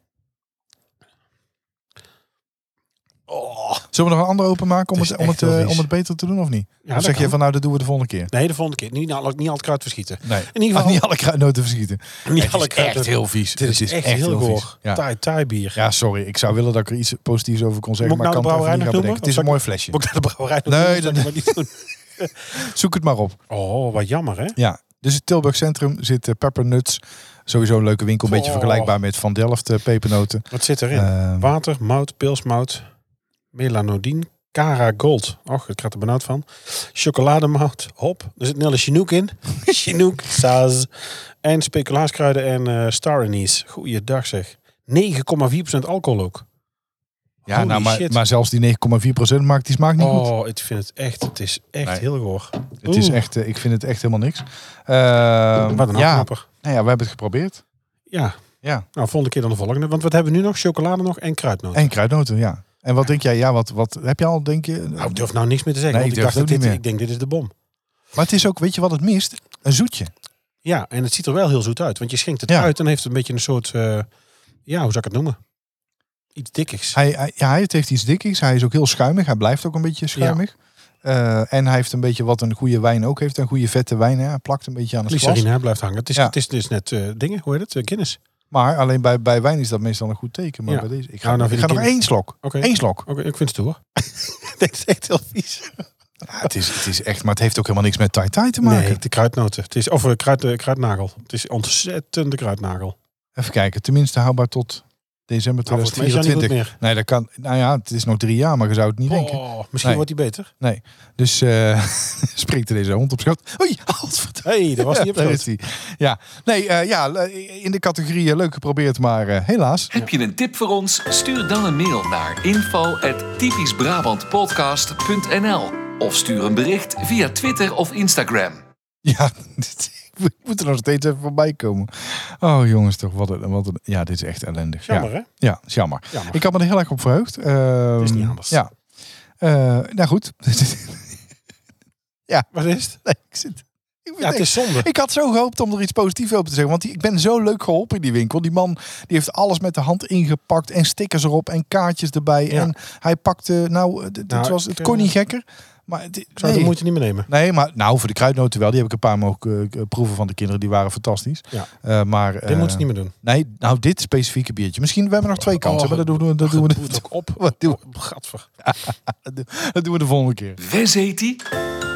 Speaker 3: Oh,
Speaker 2: Zullen we nog een ander openmaken om
Speaker 3: Het
Speaker 2: het,
Speaker 3: is
Speaker 2: om,
Speaker 3: echt
Speaker 2: het,
Speaker 3: heel
Speaker 2: eh,
Speaker 3: vies.
Speaker 2: om het beter te doen of niet?
Speaker 3: ja,
Speaker 2: of
Speaker 3: dat
Speaker 2: zeg je
Speaker 3: kan.
Speaker 2: van nou, dat doen we de volgende keer?
Speaker 3: Nee, de volgende keer. Niet, al- niet al het kruid verschieten.
Speaker 2: Nee.
Speaker 3: In ieder
Speaker 2: Mag
Speaker 3: geval...
Speaker 2: niet alle kruidnoten verschieten.
Speaker 3: niet
Speaker 2: Het
Speaker 3: alle
Speaker 2: is
Speaker 3: kruid-
Speaker 2: echt heel vies.
Speaker 3: Dit is,
Speaker 2: Het
Speaker 3: echt, heel
Speaker 2: vies.
Speaker 3: goor.
Speaker 2: Ja.
Speaker 3: Thai, Thai bier.
Speaker 2: Ja, sorry. Ik zou willen dat ik er iets positiefs over kon zeggen,
Speaker 3: Moet
Speaker 2: maar
Speaker 3: ik
Speaker 2: ik kan het
Speaker 3: nou de
Speaker 2: even niet gaan bedenken.
Speaker 3: brouwerij nog
Speaker 2: Het is een mooi flesje.
Speaker 3: Moet ik naar de brouwerij nog
Speaker 2: Nee,
Speaker 3: doen? Zal ik maar niet doen.
Speaker 2: Zoek het maar op.
Speaker 3: Oh, wat jammer, hè?
Speaker 2: Ja. Dus het Tilburg Centrum zit eh, Peppernuts. Sowieso een leuke winkel. Een beetje
Speaker 3: Oh.
Speaker 2: vergelijkbaar met Van Delft eh, pepernoten.
Speaker 3: Wat zit erin?
Speaker 2: Eh,
Speaker 3: Water, mout, pilsmout, melanodine, Cara Gold. Och, ik had er benauwd van. Chocolademout, hop. Er zit Nelle Chinook in. Chinook, saas. En speculaaskruiden en eh star anise. Goeiedag zeg. 9,4% alcohol ook.
Speaker 2: ja,
Speaker 3: holy
Speaker 2: nou, maar,
Speaker 3: shit.
Speaker 2: maar zelfs die 9,4% maakt die smaakt niet goed.
Speaker 3: Oh, ik vind het echt, het is echt
Speaker 2: Nee.
Speaker 3: heel goor.
Speaker 2: Het is
Speaker 3: Oeh.
Speaker 2: echt, eh, ik vind het echt helemaal niks. Eh,
Speaker 3: Wat een
Speaker 2: Ehm, ja,
Speaker 3: afknapper.
Speaker 2: nou ja, we hebben het geprobeerd.
Speaker 3: Ja.
Speaker 2: Ja.
Speaker 3: Nou, volgende keer dan de volgende. Want wat hebben we nu nog? Chocolade nog en kruidnoten.
Speaker 2: En kruidnoten, ja. En wat denk jij? Ja, wat, wat heb je al, denk je?
Speaker 3: Nou, ik durf nou niks meer te zeggen.
Speaker 2: Nee,
Speaker 3: want
Speaker 2: ik durf
Speaker 3: ik, dacht
Speaker 2: het
Speaker 3: dat
Speaker 2: ook
Speaker 3: dit,
Speaker 2: niet meer.
Speaker 3: ik denk, dit is de bom.
Speaker 2: Maar het is ook, weet je wat het mist? Een zoetje.
Speaker 3: Ja, en het ziet er wel heel zoet uit. Want je schenkt het
Speaker 2: Ja.
Speaker 3: uit en heeft een beetje een soort... eh, ja, hoe zou ik het noemen? Iets dikkigs.
Speaker 2: Hij, hij, ja, het heeft iets dikkigs. Hij is ook heel schuimig. Hij blijft ook een beetje schuimig. Eh, en hij heeft een beetje wat een goede wijn ook heeft. Een goede vette wijn. Hè. Hij plakt een beetje aan het glas.
Speaker 3: Glycerine hè, blijft hangen. Het is,
Speaker 2: Ja.
Speaker 3: het is dus net eh, dingen, hoe heet het? Eh, Guinness.
Speaker 2: Maar alleen bij, bij wijn is dat meestal een goed teken. Maar
Speaker 3: Ja.
Speaker 2: bij deze... Ik ga,
Speaker 3: Nou,
Speaker 2: ik
Speaker 3: nou vind
Speaker 2: ga
Speaker 3: ik
Speaker 2: nog
Speaker 3: die-
Speaker 2: één slok.
Speaker 3: Oké,
Speaker 2: Eén slok.
Speaker 3: Oké, ik vind het stoer. Dit is echt heel vies.
Speaker 2: Ja, het, is, het is echt... Maar het heeft ook helemaal niks met Thai Thai te maken.
Speaker 3: Nee, de kruidnoten. Het is, of eh, kruid, eh, kruidnagel. Het is ontzettende kruidnagel.
Speaker 2: Even kijken. Tenminste houdbaar tot december
Speaker 3: Nou, volgens mij is dat niet goed
Speaker 2: 2024.
Speaker 3: meer.
Speaker 2: Nee, dat kan... Nou ja, het is nog drie jaar. Maar je zou het niet denken.
Speaker 3: Oh, misschien
Speaker 2: Nee.
Speaker 3: wordt die beter.
Speaker 2: Dus eh springt er deze hond op schoot. Oei, godverdomme.
Speaker 3: Hé, hey, dat was niet op
Speaker 2: Ja, daar
Speaker 3: schoot.
Speaker 2: is die. Ja, nee, eh, ja, le- in de categorie eh, leuk geprobeerd, maar eh, helaas.
Speaker 1: Heb je een tip voor ons? Stuur dan een mail naar info@typischbrabantpodcast.nl of stuur een bericht via Twitter of Instagram.
Speaker 2: Ja, dit- ik moet er nog steeds even voorbij komen. Oh jongens, toch wat een, wat een- Ja, dit is echt ellendig.
Speaker 3: Jammer,
Speaker 2: ja.
Speaker 3: hè?
Speaker 2: Ja, is jammer.
Speaker 3: Jammer.
Speaker 2: Ik had me er heel erg op verheugd. Ehm,
Speaker 3: is niet anders.
Speaker 2: Ja. Eh, nou goed.
Speaker 3: Wat is het?
Speaker 2: nee, ik zit... Ik,
Speaker 3: Ja, het is zonde.
Speaker 2: ik had zo gehoopt om er iets positiefs over te zeggen. Want die, ik ben zo leuk geholpen in die winkel. Die man die heeft alles met de hand ingepakt. En stickers erop en kaartjes erbij.
Speaker 3: Ja.
Speaker 2: En hij pakte... Nou, het, het
Speaker 3: Nou,
Speaker 2: was,
Speaker 3: ik,
Speaker 2: het kon
Speaker 3: eh,
Speaker 2: niet gekker. Maar het,
Speaker 3: Ik zou
Speaker 2: nee.
Speaker 3: de moeite niet meer nemen.
Speaker 2: Nee, maar nou, voor de kruidnoten wel. Die heb ik een paar mogen eh, proeven van de kinderen. Die waren fantastisch.
Speaker 3: Ja.
Speaker 2: Eh, maar,
Speaker 3: Dit moeten ze niet meer doen.
Speaker 2: Nee, nou, dit specifieke biertje. Misschien, we hebben nog twee kanten.
Speaker 3: Oh,
Speaker 2: maar dat doen we, dat doen we,
Speaker 3: Poet ook op.
Speaker 2: Wat doen
Speaker 3: Oh, Gadver.
Speaker 2: dat doen we de volgende keer.
Speaker 1: Wes heet die?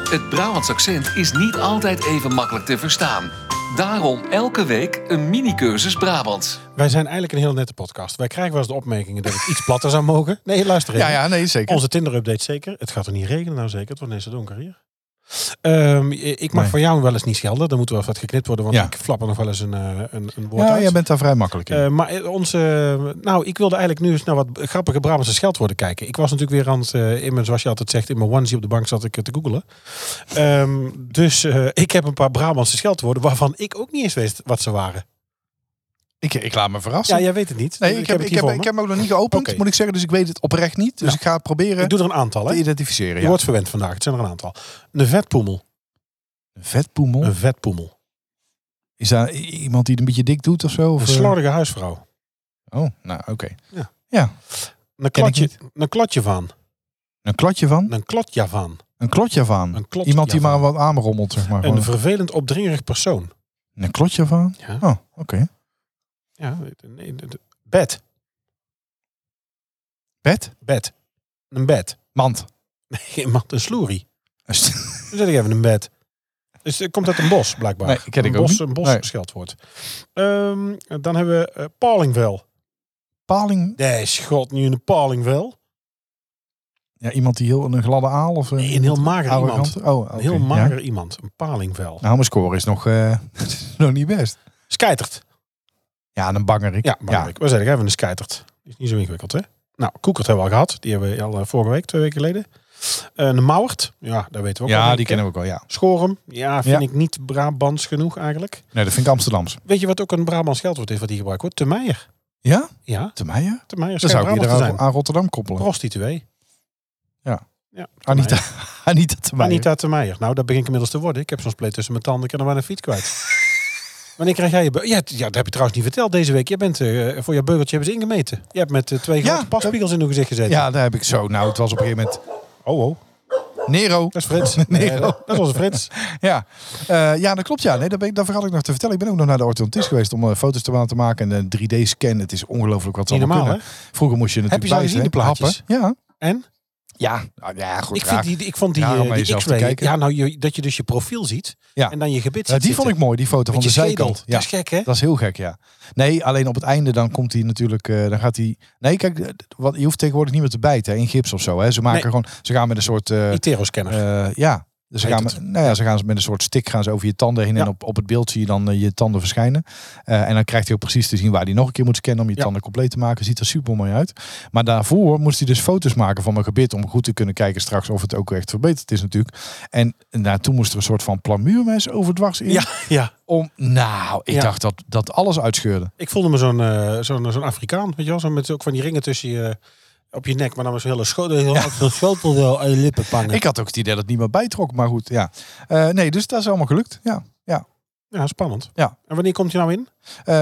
Speaker 1: Het Brabants accent is niet altijd even makkelijk te verstaan. Daarom elke week een mini-cursus Brabants.
Speaker 3: Wij zijn eigenlijk een heel nette podcast. Wij krijgen wel eens de opmerkingen dat het iets platter zou mogen. Nee, luister even.
Speaker 2: Ja, ja, nee, zeker.
Speaker 3: Onze Tinder-update zeker. Het gaat er niet regenen nou zeker. Het wordt ineens zo donker hier. Ehm, ik mag
Speaker 2: Nee.
Speaker 3: van jou wel eens niet schelden. Dan moet wel eens wat geknipt worden. Want
Speaker 2: Ja.
Speaker 3: ik flap er nog wel eens een, eh, een, een woord
Speaker 2: Ja,
Speaker 3: uit.
Speaker 2: jij bent daar vrij makkelijk in.
Speaker 3: Eh, maar eh, onze, eh, nou, ik wilde eigenlijk nu eens naar wat grappige Brabantse scheldwoorden kijken. Ik was natuurlijk weer aan het, eh, in mijn, zoals je altijd zegt, in mijn onesie op de bank zat ik eh, te googelen. Ehm, dus eh, ik heb een paar Brabantse scheldwoorden waarvan ik ook niet eens wist wat ze waren.
Speaker 2: ik, ik laat me verrassen.
Speaker 3: Ja, jij weet het niet.
Speaker 2: nee, ik heb, ik,
Speaker 3: hier
Speaker 2: heb,
Speaker 3: voor
Speaker 2: ik
Speaker 3: me.
Speaker 2: heb hem ook nog niet geopend,
Speaker 3: Oké.
Speaker 2: moet ik zeggen. Dus ik weet het oprecht niet. Dus
Speaker 3: Ja.
Speaker 2: ik ga het proberen
Speaker 3: Ik doe er een aantal, hè?
Speaker 2: te identificeren.
Speaker 3: Je
Speaker 2: Ja. Oh.
Speaker 3: wordt verwend vandaag. Het zijn er een aantal. Een vetpoemel.
Speaker 2: Vetpoemel.
Speaker 3: Een vetpoemel.
Speaker 2: Is dat i- iemand die het een beetje dik doet of zo? Of,
Speaker 3: Een
Speaker 2: eh?
Speaker 3: slordige huisvrouw.
Speaker 2: Oh, nou, oké.
Speaker 3: Een
Speaker 2: Ken ik
Speaker 3: klatje, een klatje van.
Speaker 2: Een klatje van?
Speaker 3: Een klotja van.
Speaker 2: Een klotje van?
Speaker 3: Een klotja
Speaker 2: Iemand die
Speaker 3: van.
Speaker 2: maar wat aanrommelt, zeg maar.
Speaker 3: Een
Speaker 2: gewoon.
Speaker 3: vervelend opdringerig persoon.
Speaker 2: Een klotje van?
Speaker 3: Ja.
Speaker 2: Oh, oké.
Speaker 3: Ja, nee, de- de- bed.
Speaker 2: Bed?
Speaker 3: Bed. Een bed.
Speaker 2: Mand.
Speaker 3: Geen man, een sloerie.
Speaker 2: Een st-
Speaker 3: Dan zet ik even een bed. Dus het komt uit een bos, blijkbaar.
Speaker 2: Nee, ken ik
Speaker 3: een
Speaker 2: ook
Speaker 3: bos,
Speaker 2: niet.
Speaker 3: Een bos
Speaker 2: Nee.
Speaker 3: scheldwoord. Ehm, dan hebben we eh, palingvel.
Speaker 2: Paling?
Speaker 3: Nee, schot, nu een palingvel.
Speaker 2: Ja, iemand die heel een gladde aal of eh,
Speaker 3: Nee, een heel mager
Speaker 2: arrogant?
Speaker 3: iemand.
Speaker 2: Oh, oké,
Speaker 3: Een heel
Speaker 2: ja.
Speaker 3: mager iemand. Een palingvel.
Speaker 2: Nou, mijn score is nog, eh, nog niet best.
Speaker 3: Skijtert.
Speaker 2: Ja, een bangerik.
Speaker 3: Ja, maar ik. We zeggen even een skijtert. Is niet zo ingewikkeld, hè? Nou, Koekert hebben we al gehad. Die hebben we al eh, vorige week, twee weken geleden. Eh, een Mauwert. Ja, daar weten we ook
Speaker 2: Ja,
Speaker 3: wel.
Speaker 2: die kennen we ook wel, ja.
Speaker 3: Schorum. Ja, vind
Speaker 2: Ja.
Speaker 3: ik niet Brabants genoeg eigenlijk.
Speaker 2: Nee, dat vind ik Amsterdams.
Speaker 3: Weet je wat ook een Brabants geldwoord is wat hier gebruikt wordt? Te Meijer.
Speaker 2: Ja?
Speaker 3: Ja,
Speaker 2: Te mij, ja?
Speaker 3: te Meijer.
Speaker 2: Dan
Speaker 3: schijnt
Speaker 2: zou ik je
Speaker 3: Brabant te
Speaker 2: aan,
Speaker 3: zijn.
Speaker 2: aan Rotterdam koppelen.
Speaker 3: Prostituee.
Speaker 2: Ja. Ah,
Speaker 3: ja Te
Speaker 2: Anita,
Speaker 3: Meijer.
Speaker 2: Anita te mij.
Speaker 3: Anita te Meijer. Nou, dat begin ik inmiddels te worden. Ik heb zo'n spleet tussen mijn tanden. Ik kan er maar een fiets kwijt. Wanneer krijg jij je... beu- Ja, t- ja, dat heb je trouwens niet verteld deze week. Je bent, eh, voor jouw beugeltje hebben ze ingemeten. Je hebt met eh, twee
Speaker 2: Ja,
Speaker 3: grote paspiegels in uw gezicht gezeten.
Speaker 2: Ja, daar heb ik zo. Nou, het was op een gegeven moment...
Speaker 3: Oh, oh.
Speaker 2: Nero.
Speaker 3: Dat is Frits.
Speaker 2: Nee,
Speaker 3: Eh,
Speaker 2: oh.
Speaker 3: dat is onze Frits.
Speaker 2: Ja, Eh, ja dat klopt. Ja. Nee, dat, ben ik, dat vergat ik nog te vertellen. Ik ben ook nog naar de orthodontist geweest om eh, foto's te laten maken. En een 3D-scan. Het is ongelooflijk wat ze
Speaker 3: Niet
Speaker 2: allemaal
Speaker 3: normaal,
Speaker 2: kunnen. Vroeger moest je
Speaker 3: je
Speaker 2: natuurlijk
Speaker 3: ze al gezien,
Speaker 2: bijten,
Speaker 3: de
Speaker 2: hè,
Speaker 3: plaatjes?
Speaker 2: happen.
Speaker 3: En?
Speaker 2: Ja. Ja, nou, ja goed.
Speaker 3: Ik,
Speaker 2: raar.
Speaker 3: vind die, die- ik vond die,
Speaker 2: Ja, om
Speaker 3: eh,
Speaker 2: naar
Speaker 3: die
Speaker 2: jezelf te
Speaker 3: X-ray...
Speaker 2: kijken.
Speaker 3: Ja, nou, je, dat je dus je profiel ziet
Speaker 2: Ja.
Speaker 3: en dan je gebit
Speaker 2: Ja, die vond ik mooi, die foto van de zijkant.
Speaker 3: Ja.
Speaker 2: Ja,
Speaker 3: Dat is gek, hè?
Speaker 2: dat is heel gek, ja. Nee, alleen op het einde dan komt hij natuurlijk, eh, dan gaat hij... Nee, kijk, eh, wat, je hoeft tegenwoordig niet meer te bijten hè, in gips of zo. Hè. Ze maken
Speaker 3: Nee.
Speaker 2: gewoon, ze gaan met een soort... eh,
Speaker 3: Itero-scanner.
Speaker 2: eh, ja, dus ze
Speaker 3: Heet
Speaker 2: gaan, met, nou ja, ze gaan met een soort stick gaan ze over je tanden heen. En
Speaker 3: Ja.
Speaker 2: op, op het beeld zie je dan eh, je tanden verschijnen. Eh, en dan krijgt hij ook precies te zien waar hij nog een keer moet scannen om je
Speaker 3: Ja.
Speaker 2: tanden compleet te maken. Ziet er super mooi uit. Maar daarvoor moest hij dus foto's maken van mijn gebit. Om goed te kunnen kijken straks of het ook echt verbeterd is natuurlijk. En nou, toen moest er een soort van plamuurmes over dwars in.
Speaker 3: ja, ja.
Speaker 2: Om, nou, ik
Speaker 3: Ja.
Speaker 2: dacht dat, dat alles uitscheurde.
Speaker 3: Ik voelde me zo'n eh, zo'n zo'n Afrikaan, weet je wel? Zo met ook van die ringen tussen je... eh, Op je nek, maar dan was een hele scho- heel- zo'n schotel zo aan je lippen pangen.
Speaker 2: Ik had ook het idee dat het niet meer bijtrok, maar goed, ja. Eh, nee, dus dat is allemaal gelukt, ja. ja.
Speaker 3: Ja, spannend.
Speaker 2: Ja.
Speaker 3: En wanneer komt hij nou in?
Speaker 2: Eh,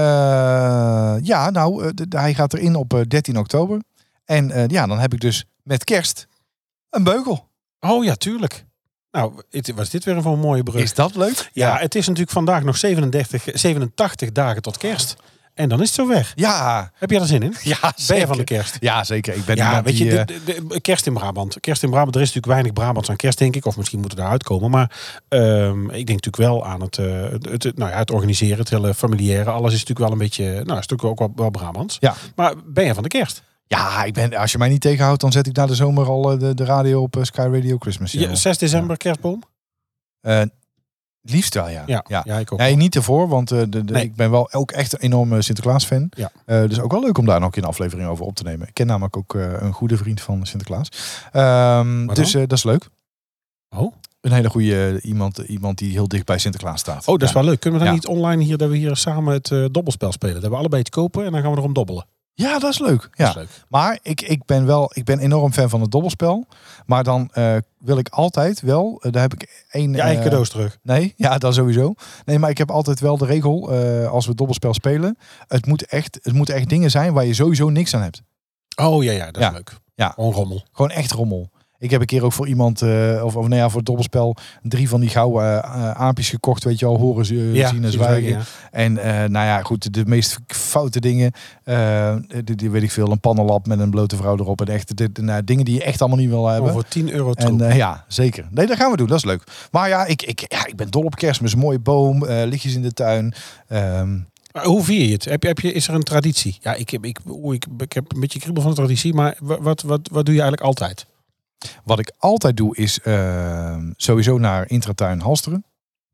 Speaker 2: ja, nou, eh, de- de- hij gaat erin op eh, 13 oktober. En eh, ja, dan heb ik dus met kerst een beugel.
Speaker 3: Oh ja, tuurlijk. Nou, het, was dit weer een, voor een mooie brug.
Speaker 2: Is dat leuk?
Speaker 3: ja, het is natuurlijk vandaag nog 37, 87 dagen tot kerst. En dan is het zo weg.
Speaker 2: Ja,
Speaker 3: Heb jij er zin in?
Speaker 2: ja zeker.
Speaker 3: Ben je van de kerst?
Speaker 2: Ja, zeker. Ik ben
Speaker 3: Ja,
Speaker 2: iemand
Speaker 3: weet
Speaker 2: die,
Speaker 3: je,
Speaker 2: eh,
Speaker 3: de, de- de- kerst in Brabant. Kerst in Brabant, er is natuurlijk weinig Brabants aan kerst, denk ik. Of misschien moeten we daaruit komen. Maar ehm, ik denk natuurlijk wel aan het, eh, het, het- nou ja, het organiseren, het hele familiaire. Alles is natuurlijk wel een beetje, nou, is natuurlijk ook wel, wel Brabants.
Speaker 2: Ja.
Speaker 3: Maar ben je van de kerst?
Speaker 2: ja ik ben, als je mij niet tegenhoudt, dan zet ik na de zomer al eh, de, de radio op eh, Sky Radio Christmas. Channel.
Speaker 3: Ja, 6 december, kerstboom?
Speaker 2: Eh, liefst wel, ja.
Speaker 3: Ja, ja. ik ook.
Speaker 2: Nee, niet ervoor, want eh, de, de,
Speaker 3: Nee.
Speaker 2: ik ben wel ook echt een enorme Sinterklaas-fan.
Speaker 3: Ja.
Speaker 2: Eh, dus ook wel leuk om daar nog een keer een aflevering over op te nemen. Ik ken namelijk ook eh, een goede vriend van Sinterklaas. Ehm,
Speaker 3: dan?
Speaker 2: dus eh, dat is leuk.
Speaker 3: Oh,
Speaker 2: Een hele goede eh, iemand, iemand die heel dicht bij Sinterklaas staat.
Speaker 3: Oh, dat is
Speaker 2: ja.
Speaker 3: wel leuk. Kunnen we dan
Speaker 2: Ja.
Speaker 3: niet online hier, dat we hier samen het eh, dobbelspel spelen? Dat we allebei iets kopen en dan gaan we erom dobbelen.
Speaker 2: Ja, dat is leuk. Ja.
Speaker 3: Dat is leuk.
Speaker 2: Maar ik, ik ben wel, ik ben enorm fan van het dobbelspel. Maar dan eh, wil ik altijd wel, eh, daar heb ik één...
Speaker 3: Je eigen
Speaker 2: eh,
Speaker 3: cadeaus terug.
Speaker 2: Nee, ja, dat sowieso. Nee, maar ik heb altijd wel de regel, eh, als we dobbelspel spelen, het moet, echt, het moet echt dingen zijn waar je sowieso niks aan hebt.
Speaker 3: Oh ja, ja, dat is
Speaker 2: Ja.
Speaker 3: leuk.
Speaker 2: Ja.
Speaker 3: Onrommel.
Speaker 2: Gewoon echt rommel. Ik heb een keer ook voor iemand, eh, of, of nou ja, voor het dobbelspel, drie van die gouden eh, eh, aapjes gekocht. Weet je al, horen ze,
Speaker 3: Ja,
Speaker 2: zien dus en
Speaker 3: zien,
Speaker 2: zwijgen.
Speaker 3: zwijgen,
Speaker 2: En eh, nou ja, goed, de meest foute dingen, eh, die, die weet ik veel, een pannenlap met een blote vrouw erop. En echt, dit, nou, dingen die je echt allemaal niet wil hebben.
Speaker 3: Oh, voor 10 euro
Speaker 2: En
Speaker 3: troep.
Speaker 2: eh, ja, zeker. Nee, dat gaan we doen. Dat is leuk. Maar ja, ik, ik, ja, ik ben dol op kerstmis. Mooie boom, eh, lichtjes in de tuin. Ehm,
Speaker 3: Maar hoe vier je het? Heb je, heb je, is er een traditie? Ja, ik, heb- ik, oeh, ik, ik heb een beetje kriebel van de traditie, maar wa- wat, wat, wat doe je eigenlijk altijd?
Speaker 2: wat ik altijd doe is ehm, sowieso naar Intratuin Halsteren.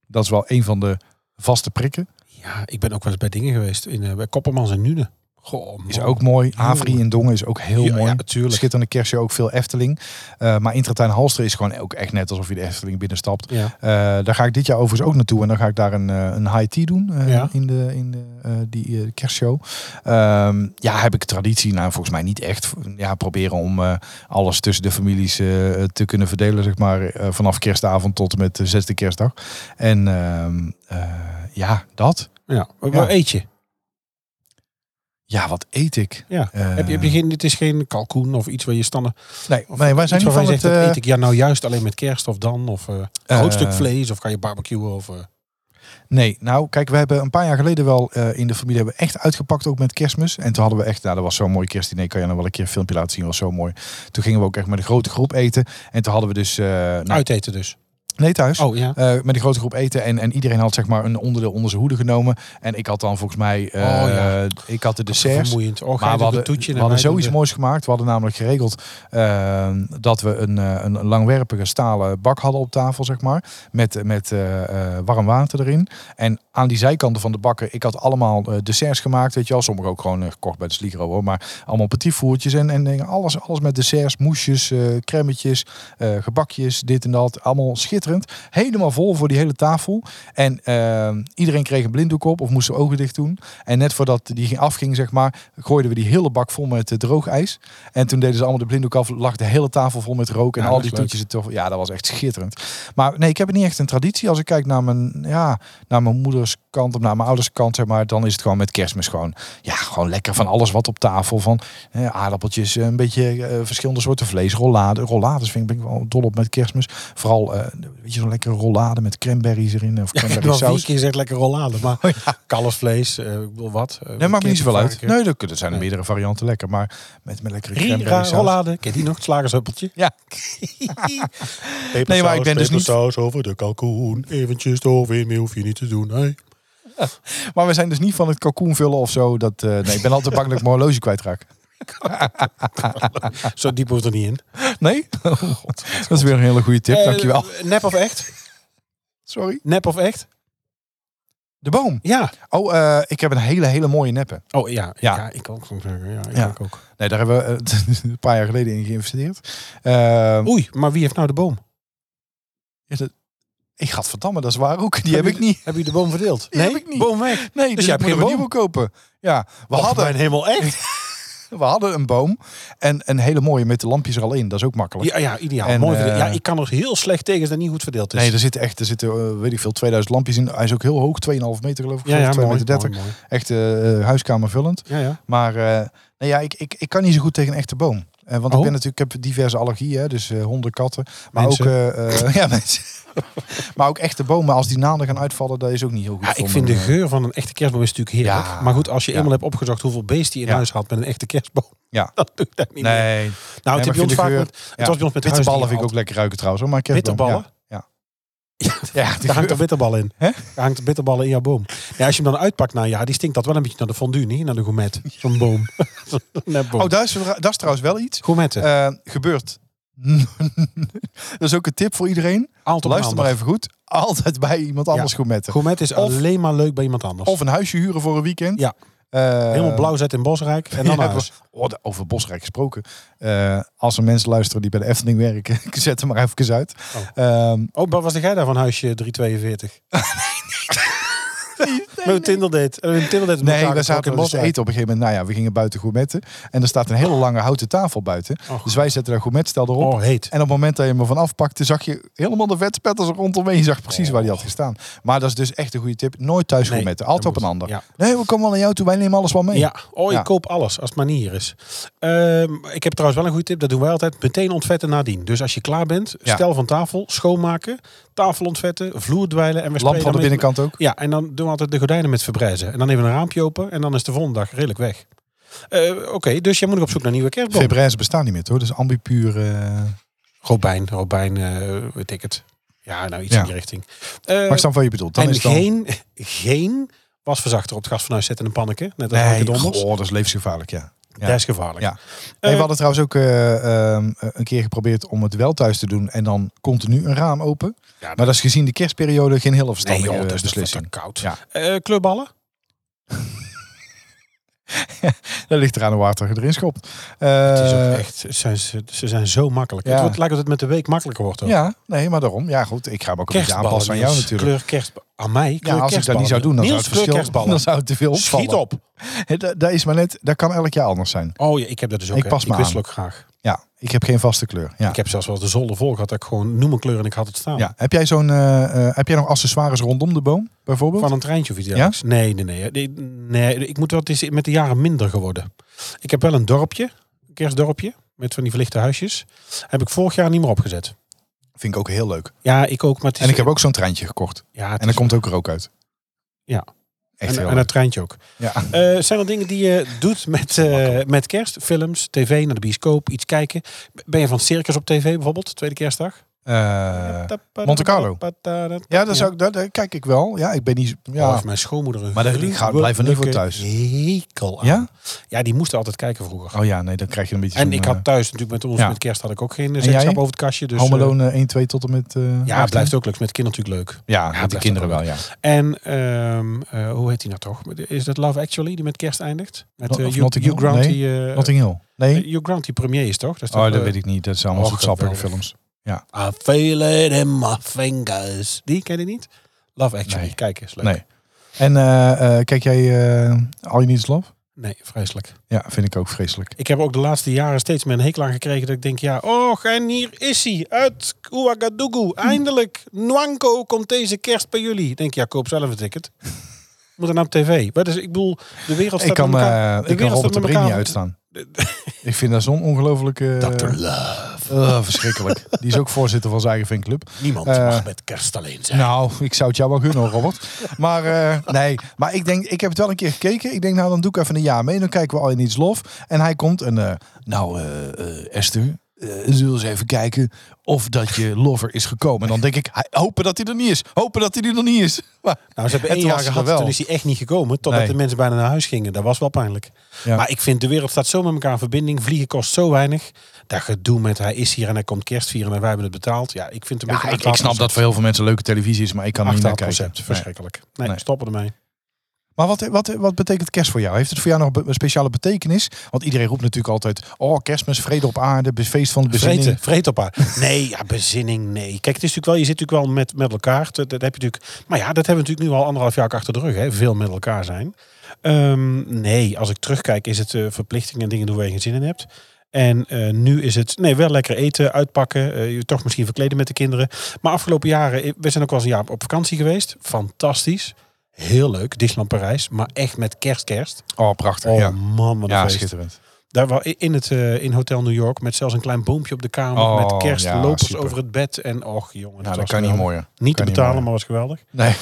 Speaker 2: Dat is wel een van de vaste prikken.
Speaker 3: Ja, ik ben ook wel eens bij dingen geweest. In, eh, bij Koppermans en Nune. Goh, man.
Speaker 2: Is ook mooi. Havri in Dongen is ook heel
Speaker 3: Ja,
Speaker 2: mooi.
Speaker 3: Ja, natuurlijk.
Speaker 2: Schitterende kerstje, ook veel Efteling. Eh, maar Intratuin Halsteren is gewoon ook echt net alsof je de Efteling binnenstapt.
Speaker 3: Ja.
Speaker 2: Eh, daar ga ik dit jaar overigens ook naartoe. En dan ga ik daar een, eh, een high tea doen eh,
Speaker 3: Ja.
Speaker 2: in, de, in de, eh, die eh, kerstshow. Ehm, ja, heb ik traditie? Nou, volgens mij niet echt. Ja, proberen om eh, alles tussen de families eh, te kunnen verdelen, zeg maar. eh, vanaf kerstavond tot en met de zesde kerstdag. En ehm, eh, ja, dat.
Speaker 3: Ja. Maar Wat
Speaker 2: Ja.
Speaker 3: eet je?
Speaker 2: Ja, wat eet ik?
Speaker 3: Ja.
Speaker 2: Eh,
Speaker 3: Heb je, heb je geen, het is geen kalkoen of iets waar je standen...
Speaker 2: nee,
Speaker 3: Of
Speaker 2: nee, wij zijn
Speaker 3: iets
Speaker 2: nu van
Speaker 3: waarvan je
Speaker 2: het...
Speaker 3: zegt, dat
Speaker 2: eh,
Speaker 3: eet ik ja, nou juist alleen met kerst of dan? Of eh
Speaker 2: Eh,
Speaker 3: groot stuk vlees of ga je barbecuen? Of, eh,
Speaker 2: Nee, nou kijk, we hebben een paar jaar geleden wel eh, in de familie hebben we echt uitgepakt ook met kerstmis. En toen hadden we echt, nou dat was zo'n mooi kerstdiner, kan je nou wel een keer een filmpje laten zien, was zo mooi. Toen gingen we ook echt met een grote groep eten. En toen hadden we dus, eh, nou,
Speaker 3: Uiteten dus.
Speaker 2: nee thuis,
Speaker 3: Oh ja.
Speaker 2: Eh, met een grote groep eten. En, en iedereen had zeg maar een onderdeel onder zijn hoede genomen. En ik had dan volgens mij, eh,
Speaker 3: Oh, ja.
Speaker 2: ik had de
Speaker 3: Wat
Speaker 2: desserts.
Speaker 3: Vermoeiend. Oh,
Speaker 2: Maar we hadden,
Speaker 3: toetje
Speaker 2: we hadden zoiets
Speaker 3: mooi.
Speaker 2: moois gemaakt. We hadden namelijk geregeld eh, dat we een, eh, een langwerpige stalen bak hadden op tafel, zeg maar. Met, met eh, eh, warm water erin. En aan die zijkanten van de bakken, ik had allemaal eh, desserts gemaakt. Weet je wel, sommige ook gewoon eh, gekocht bij de Sligro hoor. Maar allemaal petitvoertjes en, en dingen. Alles, alles met desserts, moesjes, eh crèmetjes, eh, gebakjes, dit en dat. Allemaal schitterend. Helemaal vol voor die hele tafel. En eh, iedereen kreeg een blinddoek op of moest zijn ogen dicht doen. En net voordat die ging- afging, zeg maar, gooiden we die hele bak vol met eh, droog ijs. En toen deden ze allemaal de blinddoek af, lag de hele tafel vol met rook en
Speaker 3: Ja,
Speaker 2: al
Speaker 3: dat
Speaker 2: die
Speaker 3: is leuk.
Speaker 2: toetjes. er toch- Ja, dat was echt schitterend. Maar nee, ik heb het niet echt een traditie. Als ik kijk naar mijn, ja, naar mijn moeders kant of naar mijn ouders kant, zeg maar, dan is het gewoon met kerstmis gewoon. Ja, gewoon lekker van alles wat op tafel. Van eh, aardappeltjes, een beetje eh, verschillende soorten vlees, rollade. Rollades vind ik, ben ik wel dol op met kerstmis. Vooral, eh, weet je, zo'n lekkere rollade met cranberries erin. Of
Speaker 3: Ja, ik heb
Speaker 2: cranberry
Speaker 3: wel
Speaker 2: saus.
Speaker 3: vier keer gezegd lekker rollade, maar kalfsvlees, eh, ik bedoel wat. eh,
Speaker 2: Oh, Nee, maakt me niet zoveel uit.
Speaker 3: kippenvarken.
Speaker 2: Nee, dat, dat zijn er
Speaker 3: Nee.
Speaker 2: meerdere varianten lekker. Maar met, met lekkere
Speaker 3: Rira,
Speaker 2: cranberry saus.
Speaker 3: rollade, ken je die nog? Het slagershuppeltje.
Speaker 2: Ja. Nee, maar ik ben dus niet-
Speaker 3: saus over de kalkoen, eventjes de oven in, meer hoef je niet te doen. Hey.
Speaker 2: Maar we zijn dus niet van het kalkoen vullen of zo. Dat, eh, nee, ik ben altijd bang dat ik mijn horloge kwijtraak.
Speaker 3: Zo diep hoeft er niet in.
Speaker 2: Nee? Oh, dat is weer een hele goede tip.
Speaker 3: Eh,
Speaker 2: Dankjewel.
Speaker 3: Nep of echt?
Speaker 2: Sorry.
Speaker 3: Nep of echt?
Speaker 2: De boom.
Speaker 3: Ja.
Speaker 2: Oh, eh, ik heb een hele, hele mooie neppen.
Speaker 3: Oh ja,
Speaker 2: Ja.
Speaker 3: ja. ik ook soms zeggen. Ja, ik
Speaker 2: Ja.
Speaker 3: denk ook.
Speaker 2: Nee, daar hebben we eh, een paar jaar geleden in geïnvesteerd. Eh,
Speaker 3: Oei, maar wie heeft nou de boom?
Speaker 2: ik had verdamme, dat is waar ook. Die heb ik niet.
Speaker 3: Heb je de boom verdeeld?
Speaker 2: Die heb ik niet.
Speaker 3: Boom weg.
Speaker 2: Nee, dus,
Speaker 3: jij
Speaker 2: ik
Speaker 3: hebt
Speaker 2: moet
Speaker 3: geen
Speaker 2: er een
Speaker 3: boom?
Speaker 2: nieuwe kopen. Ja, we
Speaker 3: Of
Speaker 2: hadden,
Speaker 3: mijn hemel echt?
Speaker 2: we hadden een boom en een hele mooie met de lampjes er al in. Dat is ook makkelijk.
Speaker 3: Ja, ja ideaal.
Speaker 2: En,
Speaker 3: Mooi
Speaker 2: eh,
Speaker 3: verdeeld. Ja, ik kan er heel slecht tegen dat het niet goed verdeeld is.
Speaker 2: Nee, er zitten echt, er zitten, eh, weet ik veel, 2000 lampjes in. Hij is ook heel hoog, 2,5 meter geloof ik.
Speaker 3: ja,
Speaker 2: of
Speaker 3: ja,
Speaker 2: 2,30
Speaker 3: mooi,
Speaker 2: meter. 30.
Speaker 3: mooi, mooi.
Speaker 2: Echt eh, huiskamervullend.
Speaker 3: Ja, ja.
Speaker 2: Maar eh, nee, ja, ik, ik, ik kan niet zo goed tegen een echte boom. Eh, want ik
Speaker 3: Oh.
Speaker 2: ben natuurlijk, ik heb diverse allergieën, hè, dus eh, honden, katten. Maar
Speaker 3: Mensen.
Speaker 2: ook, eh, eh, ja, mensen. maar ook echte bomen, als die naalden gaan uitvallen, dat is ook niet heel goed.
Speaker 3: Ja,
Speaker 2: voor
Speaker 3: ik vind de
Speaker 2: mijn, eh,
Speaker 3: geur van een echte kerstboom is natuurlijk heerlijk.
Speaker 2: Ja.
Speaker 3: maar goed, als je
Speaker 2: Ja.
Speaker 3: eenmaal hebt opgezocht hoeveel beest die in
Speaker 2: Ja.
Speaker 3: huis had met een echte kerstboom,
Speaker 2: Ja.
Speaker 3: dan doe ik dat niet meer.
Speaker 2: Nee,
Speaker 3: Nou, het,
Speaker 2: maar ik
Speaker 3: heb je
Speaker 2: vind
Speaker 3: ons
Speaker 2: de
Speaker 3: vaak
Speaker 2: geur-
Speaker 3: met, het was bij ons met
Speaker 2: witte ballen vind ik ook
Speaker 3: huisdieren
Speaker 2: lekker ruiken trouwens. hoor, Maar kerstboom,
Speaker 3: Bitterballen?
Speaker 2: Ja,
Speaker 3: altijd.
Speaker 2: ja. ja de
Speaker 3: Daar hangt
Speaker 2: geur-
Speaker 3: een bitterbal in.
Speaker 2: Hè?
Speaker 3: Daar hangt een bitterbal in jouw boom. Ja, als je hem dan uitpakt, nou ja, die stinkt dat wel een beetje naar de fondue, niet? Naar de gourmet. Zo'n boom. Zo'n nepboom.
Speaker 2: Oh, daar is, dat is trouwens wel iets.
Speaker 3: Gourmetten.
Speaker 2: Eh, gebeurt. dat is ook een tip voor iedereen.
Speaker 3: Altijd op een
Speaker 2: Luister maar
Speaker 3: ander.
Speaker 2: even goed. Altijd bij iemand anders goed metten.
Speaker 3: Gourmet is
Speaker 2: Of-
Speaker 3: alleen maar leuk bij iemand anders.
Speaker 2: Of een huisje huren voor een weekend. Eh,
Speaker 3: Ja. Helemaal blauw zet in Bosrijk. En dan
Speaker 2: Ja,
Speaker 3: naar
Speaker 2: we-
Speaker 3: huis.
Speaker 2: oh, de- over Bosrijk gesproken. Eh, als er mensen luisteren die bij de Efteling werken, ik zet hem maar even uit.
Speaker 3: Oh.
Speaker 2: Ehm,
Speaker 3: Oh, wat was jij daar van huisje 342? Met een Tinderdate. Eh, Een Tinderdate met
Speaker 2: nee,
Speaker 3: elkaar
Speaker 2: daar
Speaker 3: gesproken
Speaker 2: zaten we
Speaker 3: in
Speaker 2: dus te
Speaker 3: Bosrijk.
Speaker 2: eten op een gegeven moment. Nou ja, we gingen buiten gourmetten. En er staat een hele lange houten tafel buiten.
Speaker 3: Oh.
Speaker 2: Dus wij zetten daar gourmetstel erop.
Speaker 3: Oh, heet.
Speaker 2: En op het moment dat je me van afpakte, zag je helemaal de vetspetters er rondomheen. Je zag precies waar die had gestaan. Maar dat is dus echt een goede tip. Nooit thuis
Speaker 3: Oh. Nee,
Speaker 2: gourmetten. Altijd
Speaker 3: dat
Speaker 2: op een
Speaker 3: moet-
Speaker 2: ander.
Speaker 3: ja.
Speaker 2: Nee, we komen wel naar jou toe. Wij nemen alles wel mee.
Speaker 3: Ja, oh, ik
Speaker 2: Ja.
Speaker 3: koop alles als het maar niet hier is. Ehm, ik heb trouwens wel een goede tip. Dat doen wij altijd. Meteen ontvetten nadien. Dus als je klaar bent,
Speaker 2: Ja.
Speaker 3: stel van tafel, schoonmaken, tafel ontvetten, vloer dweilen. En
Speaker 2: Lamp
Speaker 3: we sprayen
Speaker 2: van de
Speaker 3: dan met-
Speaker 2: binnenkant ook.
Speaker 3: Ja, en dan doen we altijd de gordijnen met verbrijzen. En dan even een raampje open en dan is de volgende dag redelijk weg. Eh, Oké, dus jij moet nog op zoek naar nieuwe kerstboom.
Speaker 2: Febraise bestaan niet meer, hoor. Dus ambipuur... eh,
Speaker 3: Robijn, Robijn, eh weet ik het. Ja, nou iets
Speaker 2: Ja.
Speaker 3: in die richting. Eh,
Speaker 2: Maar ik snap wat je bedoelt. Dan
Speaker 3: en
Speaker 2: is dan...
Speaker 3: geen, geen wasverzachter op het gas van huis zetten in een panneke. Net als
Speaker 2: Nee,
Speaker 3: Anke Donders. Eh,
Speaker 2: goh, dat is levensgevaarlijk, ja. ja.
Speaker 3: Dat is gevaarlijk.
Speaker 2: Ja. Nee, we hadden trouwens ook eh, ehm, een keer geprobeerd om het wel thuis te doen en dan continu een raam open.
Speaker 3: Ja,
Speaker 2: maar dat is gezien de kerstperiode geen heel verstandige
Speaker 3: joh,
Speaker 2: eh,
Speaker 3: dat is toch
Speaker 2: beslissing.
Speaker 3: te koud.
Speaker 2: Ja,
Speaker 3: Eh, kleurballen?
Speaker 2: dat ligt eraan hoe hard er erin schopt.
Speaker 3: het is ook
Speaker 2: Eh,
Speaker 3: echt, het zijn, ze ze zijn zo makkelijk.
Speaker 2: ja.
Speaker 3: Het wordt, lijkt dat het met de week makkelijker wordt. Ook.
Speaker 2: Ja, nee, maar daarom. Ja, goed. Ik ga hem ook een beetje
Speaker 3: Kerstballen,
Speaker 2: aanpassen aan jou
Speaker 3: Niels.
Speaker 2: natuurlijk.
Speaker 3: Kleur kerst, aan mij?
Speaker 2: Ja, als ik
Speaker 3: kleur
Speaker 2: dat
Speaker 3: kerstballen.
Speaker 2: niet zou doen, dan zou
Speaker 3: Niels,
Speaker 2: het verschil
Speaker 3: kleurkerstballen.
Speaker 2: dan zou het te veel opvallen.
Speaker 3: Schiet op.
Speaker 2: Hè, da- Dat is maar net, dat kan elk jaar anders zijn.
Speaker 3: Oh ja, ik heb dat dus ook.
Speaker 2: Ik
Speaker 3: hè.
Speaker 2: pas me
Speaker 3: ik wissel
Speaker 2: aan.
Speaker 3: ook graag.
Speaker 2: Ja, ik heb geen vaste kleur. Ja.
Speaker 3: Ik heb zelfs wel eens de zolder vol gehad. Dat ik gewoon noem een kleur en ik had het staan.
Speaker 2: Ja. Heb jij zo'n, eh, eh, heb jij nog accessoires rondom de boom, bijvoorbeeld?
Speaker 3: Van een treintje of iets dergelijks? Nee, nee, nee. Nee, nee, ik moet wel, het is met de jaren minder geworden. Ik heb wel een dorpje, een kerstdorpje, met van die verlichte huisjes. Heb ik vorig jaar niet meer opgezet.
Speaker 2: Vind ik ook heel leuk.
Speaker 3: Ja, ik ook, maar het is...
Speaker 2: En ik heb ook zo'n treintje gekocht.
Speaker 3: ja, het
Speaker 2: En er
Speaker 3: is-
Speaker 2: komt ook rook uit.
Speaker 3: Ja.
Speaker 2: Echt
Speaker 3: en,
Speaker 2: heel
Speaker 3: en
Speaker 2: leuk.
Speaker 3: het treintje ook.
Speaker 2: Ja.
Speaker 3: Eh, zijn er dingen die je doet met, eh, met kerst? Films, tv, naar de bioscoop, iets kijken. Ben je van circus op tv bijvoorbeeld, tweede kerstdag?
Speaker 2: Eh, Monte Carlo. ja, dat, zou ik, dat, dat kijk ik wel. Ja, ik ben niet...
Speaker 3: Ja.
Speaker 2: Ja.
Speaker 3: Of Oh, mijn schoonmoeder een
Speaker 2: Maar dat- ik ga- blijf er niet voor thuis.
Speaker 3: Hekel aan.
Speaker 2: Ja?
Speaker 3: Ja, die moesten altijd kijken vroeger.
Speaker 2: Oh ja, nee, dan krijg je een beetje
Speaker 3: En
Speaker 2: zo'n,
Speaker 3: ik
Speaker 2: eh,
Speaker 3: had thuis natuurlijk met ons
Speaker 2: ja.
Speaker 3: met kerst had ik ook geen eh,
Speaker 2: En
Speaker 3: zeggenschap
Speaker 2: jij?
Speaker 3: over het kastje. Dus,
Speaker 2: Home
Speaker 3: eh,
Speaker 2: Alone, eh, 1, 2 tot en met... eh,
Speaker 3: ja,
Speaker 2: 18.
Speaker 3: het blijft ook leuk. Is Met kinderen natuurlijk leuk.
Speaker 2: Ja, met
Speaker 3: blijft
Speaker 2: de
Speaker 3: ook
Speaker 2: kinderen
Speaker 3: wel.
Speaker 2: wel, ja.
Speaker 3: En ehm, eh, hoe heet die nou toch? Is dat Love Actually die met kerst eindigt? Met
Speaker 2: Of
Speaker 3: eh, Hugh-
Speaker 2: Notting Hill?
Speaker 3: Hugh Grant
Speaker 2: Nee,
Speaker 3: die, eh,
Speaker 2: Notting Hill.
Speaker 3: eh,
Speaker 2: Nee?
Speaker 3: Hugh Grant die premier is toch? Dat is toch,
Speaker 2: Oh, dat
Speaker 3: eh,
Speaker 2: weet ik niet. Dat zijn allemaal
Speaker 3: oh,
Speaker 2: soort sappige
Speaker 3: geweldig.
Speaker 2: films.
Speaker 3: I feel it in my fingers. Die ken je niet? Love Actually.
Speaker 2: Nee.
Speaker 3: Kijk eens. Leuk.
Speaker 2: Nee. En eh, eh, kijk jij eh All You Need Is Love?
Speaker 3: nee, vreselijk.
Speaker 2: Ja, vind ik ook vreselijk.
Speaker 3: Ik heb ook de laatste jaren steeds meer een hekel aan gekregen. Dat ik denk, ja, och, en hier is hij. Uit Ouagadougou.
Speaker 2: Hm.
Speaker 3: Eindelijk. Nwanko komt deze kerst bij jullie. Ik denk, ja, koop zelf een ticket. Moet dan op tv. Maar dus, ik bedoel, de wereld staat
Speaker 2: Ik kan,
Speaker 3: met elkaar.
Speaker 2: eh,
Speaker 3: de
Speaker 2: ik kan
Speaker 3: wereld
Speaker 2: Robert de
Speaker 3: staat met
Speaker 2: Brink niet
Speaker 3: elkaar-
Speaker 2: uitstaan. ik vind dat zo'n ongelofelijke...
Speaker 3: Dr. Love.
Speaker 2: Eh, verschrikkelijk. Die is ook voorzitter van zijn eigen fanclub.
Speaker 3: Niemand
Speaker 2: Eh,
Speaker 3: mag met kerst alleen zijn.
Speaker 2: Nou, ik zou het jou wel gunnen, hoor, Robert. Maar eh, nee, maar ik denk, ik heb het wel een keer gekeken. Ik denk, nou, dan doe ik even een jaar mee. Dan kijken we al in iets lof. En hij komt en, eh, nou, eh, eh, Esther, eh, zullen we eens even kijken of dat je lover is gekomen. En dan denk ik, hij- hopen dat hij er niet is. Hopen dat hij er nog niet is. Maar,
Speaker 3: Nou, ze hebben
Speaker 2: Het
Speaker 3: één jaar
Speaker 2: was er
Speaker 3: gehad,
Speaker 2: wel.
Speaker 3: toen is hij echt niet gekomen. Totdat
Speaker 2: Nee.
Speaker 3: de mensen bijna naar huis gingen. Dat was wel pijnlijk.
Speaker 2: Ja.
Speaker 3: Maar ik vind, de wereld staat zo met elkaar in verbinding. Vliegen kost zo weinig. Dat gedoe met hij is hier en hij komt kerst vieren en wij hebben het betaald. Ja, ik vind het een beetje
Speaker 2: ja,
Speaker 3: een
Speaker 2: ik, ik snap dat voor heel veel mensen leuke televisie is, maar ik kan er niet naar
Speaker 3: achterhaald
Speaker 2: kijken.
Speaker 3: concept.
Speaker 2: Nee.
Speaker 3: Verschrikkelijk. Nee,
Speaker 2: Nee.
Speaker 3: stoppen ermee.
Speaker 2: Maar wat, wat, wat betekent kerst voor jou? Heeft het voor jou nog be- een speciale betekernis? Want iedereen roept natuurlijk altijd, oh, kerstmis, vrede op aarde, be- feest van de bezinning.
Speaker 3: Vreten, vreet op haar. Nee, ja, bezinning, nee. Kijk, het is natuurlijk wel, je zit natuurlijk wel met, met elkaar. Dat, dat heb je natuurlijk, maar ja, dat hebben we natuurlijk nu al anderhalf jaar achter de rug. Hè. Veel met elkaar zijn. Ehm, nee, als ik terugkijk is het eh, verplichtingen en dingen doen waar je geen zin in hebt. En eh, nu is het, nee, wel lekker eten, uitpakken. eh, je toch misschien verkleden met de kinderen. Maar afgelopen jaren, eh, we zijn ook wel eens een jaar op vakantie geweest. Fantastisch. Heel leuk, Disneyland Parijs. Maar echt met kerst, kerst.
Speaker 2: Oh, prachtig.
Speaker 3: Oh
Speaker 2: ja,
Speaker 3: man, wat een
Speaker 2: ja
Speaker 3: feest.
Speaker 2: schitterend.
Speaker 3: Daar wa- in het eh, in Hotel New York met zelfs een klein boompje op de kamer.
Speaker 2: Oh,
Speaker 3: met kerst,
Speaker 2: ja,
Speaker 3: lopers
Speaker 2: super.
Speaker 3: over het bed. En och jongen,
Speaker 2: Ja, dat
Speaker 3: was
Speaker 2: kan niet
Speaker 3: geweldig.
Speaker 2: mooier.
Speaker 3: Nou, Niet te
Speaker 2: Kan niet
Speaker 3: betalen,
Speaker 2: mooier.
Speaker 3: maar was geweldig.
Speaker 2: eh, Nee.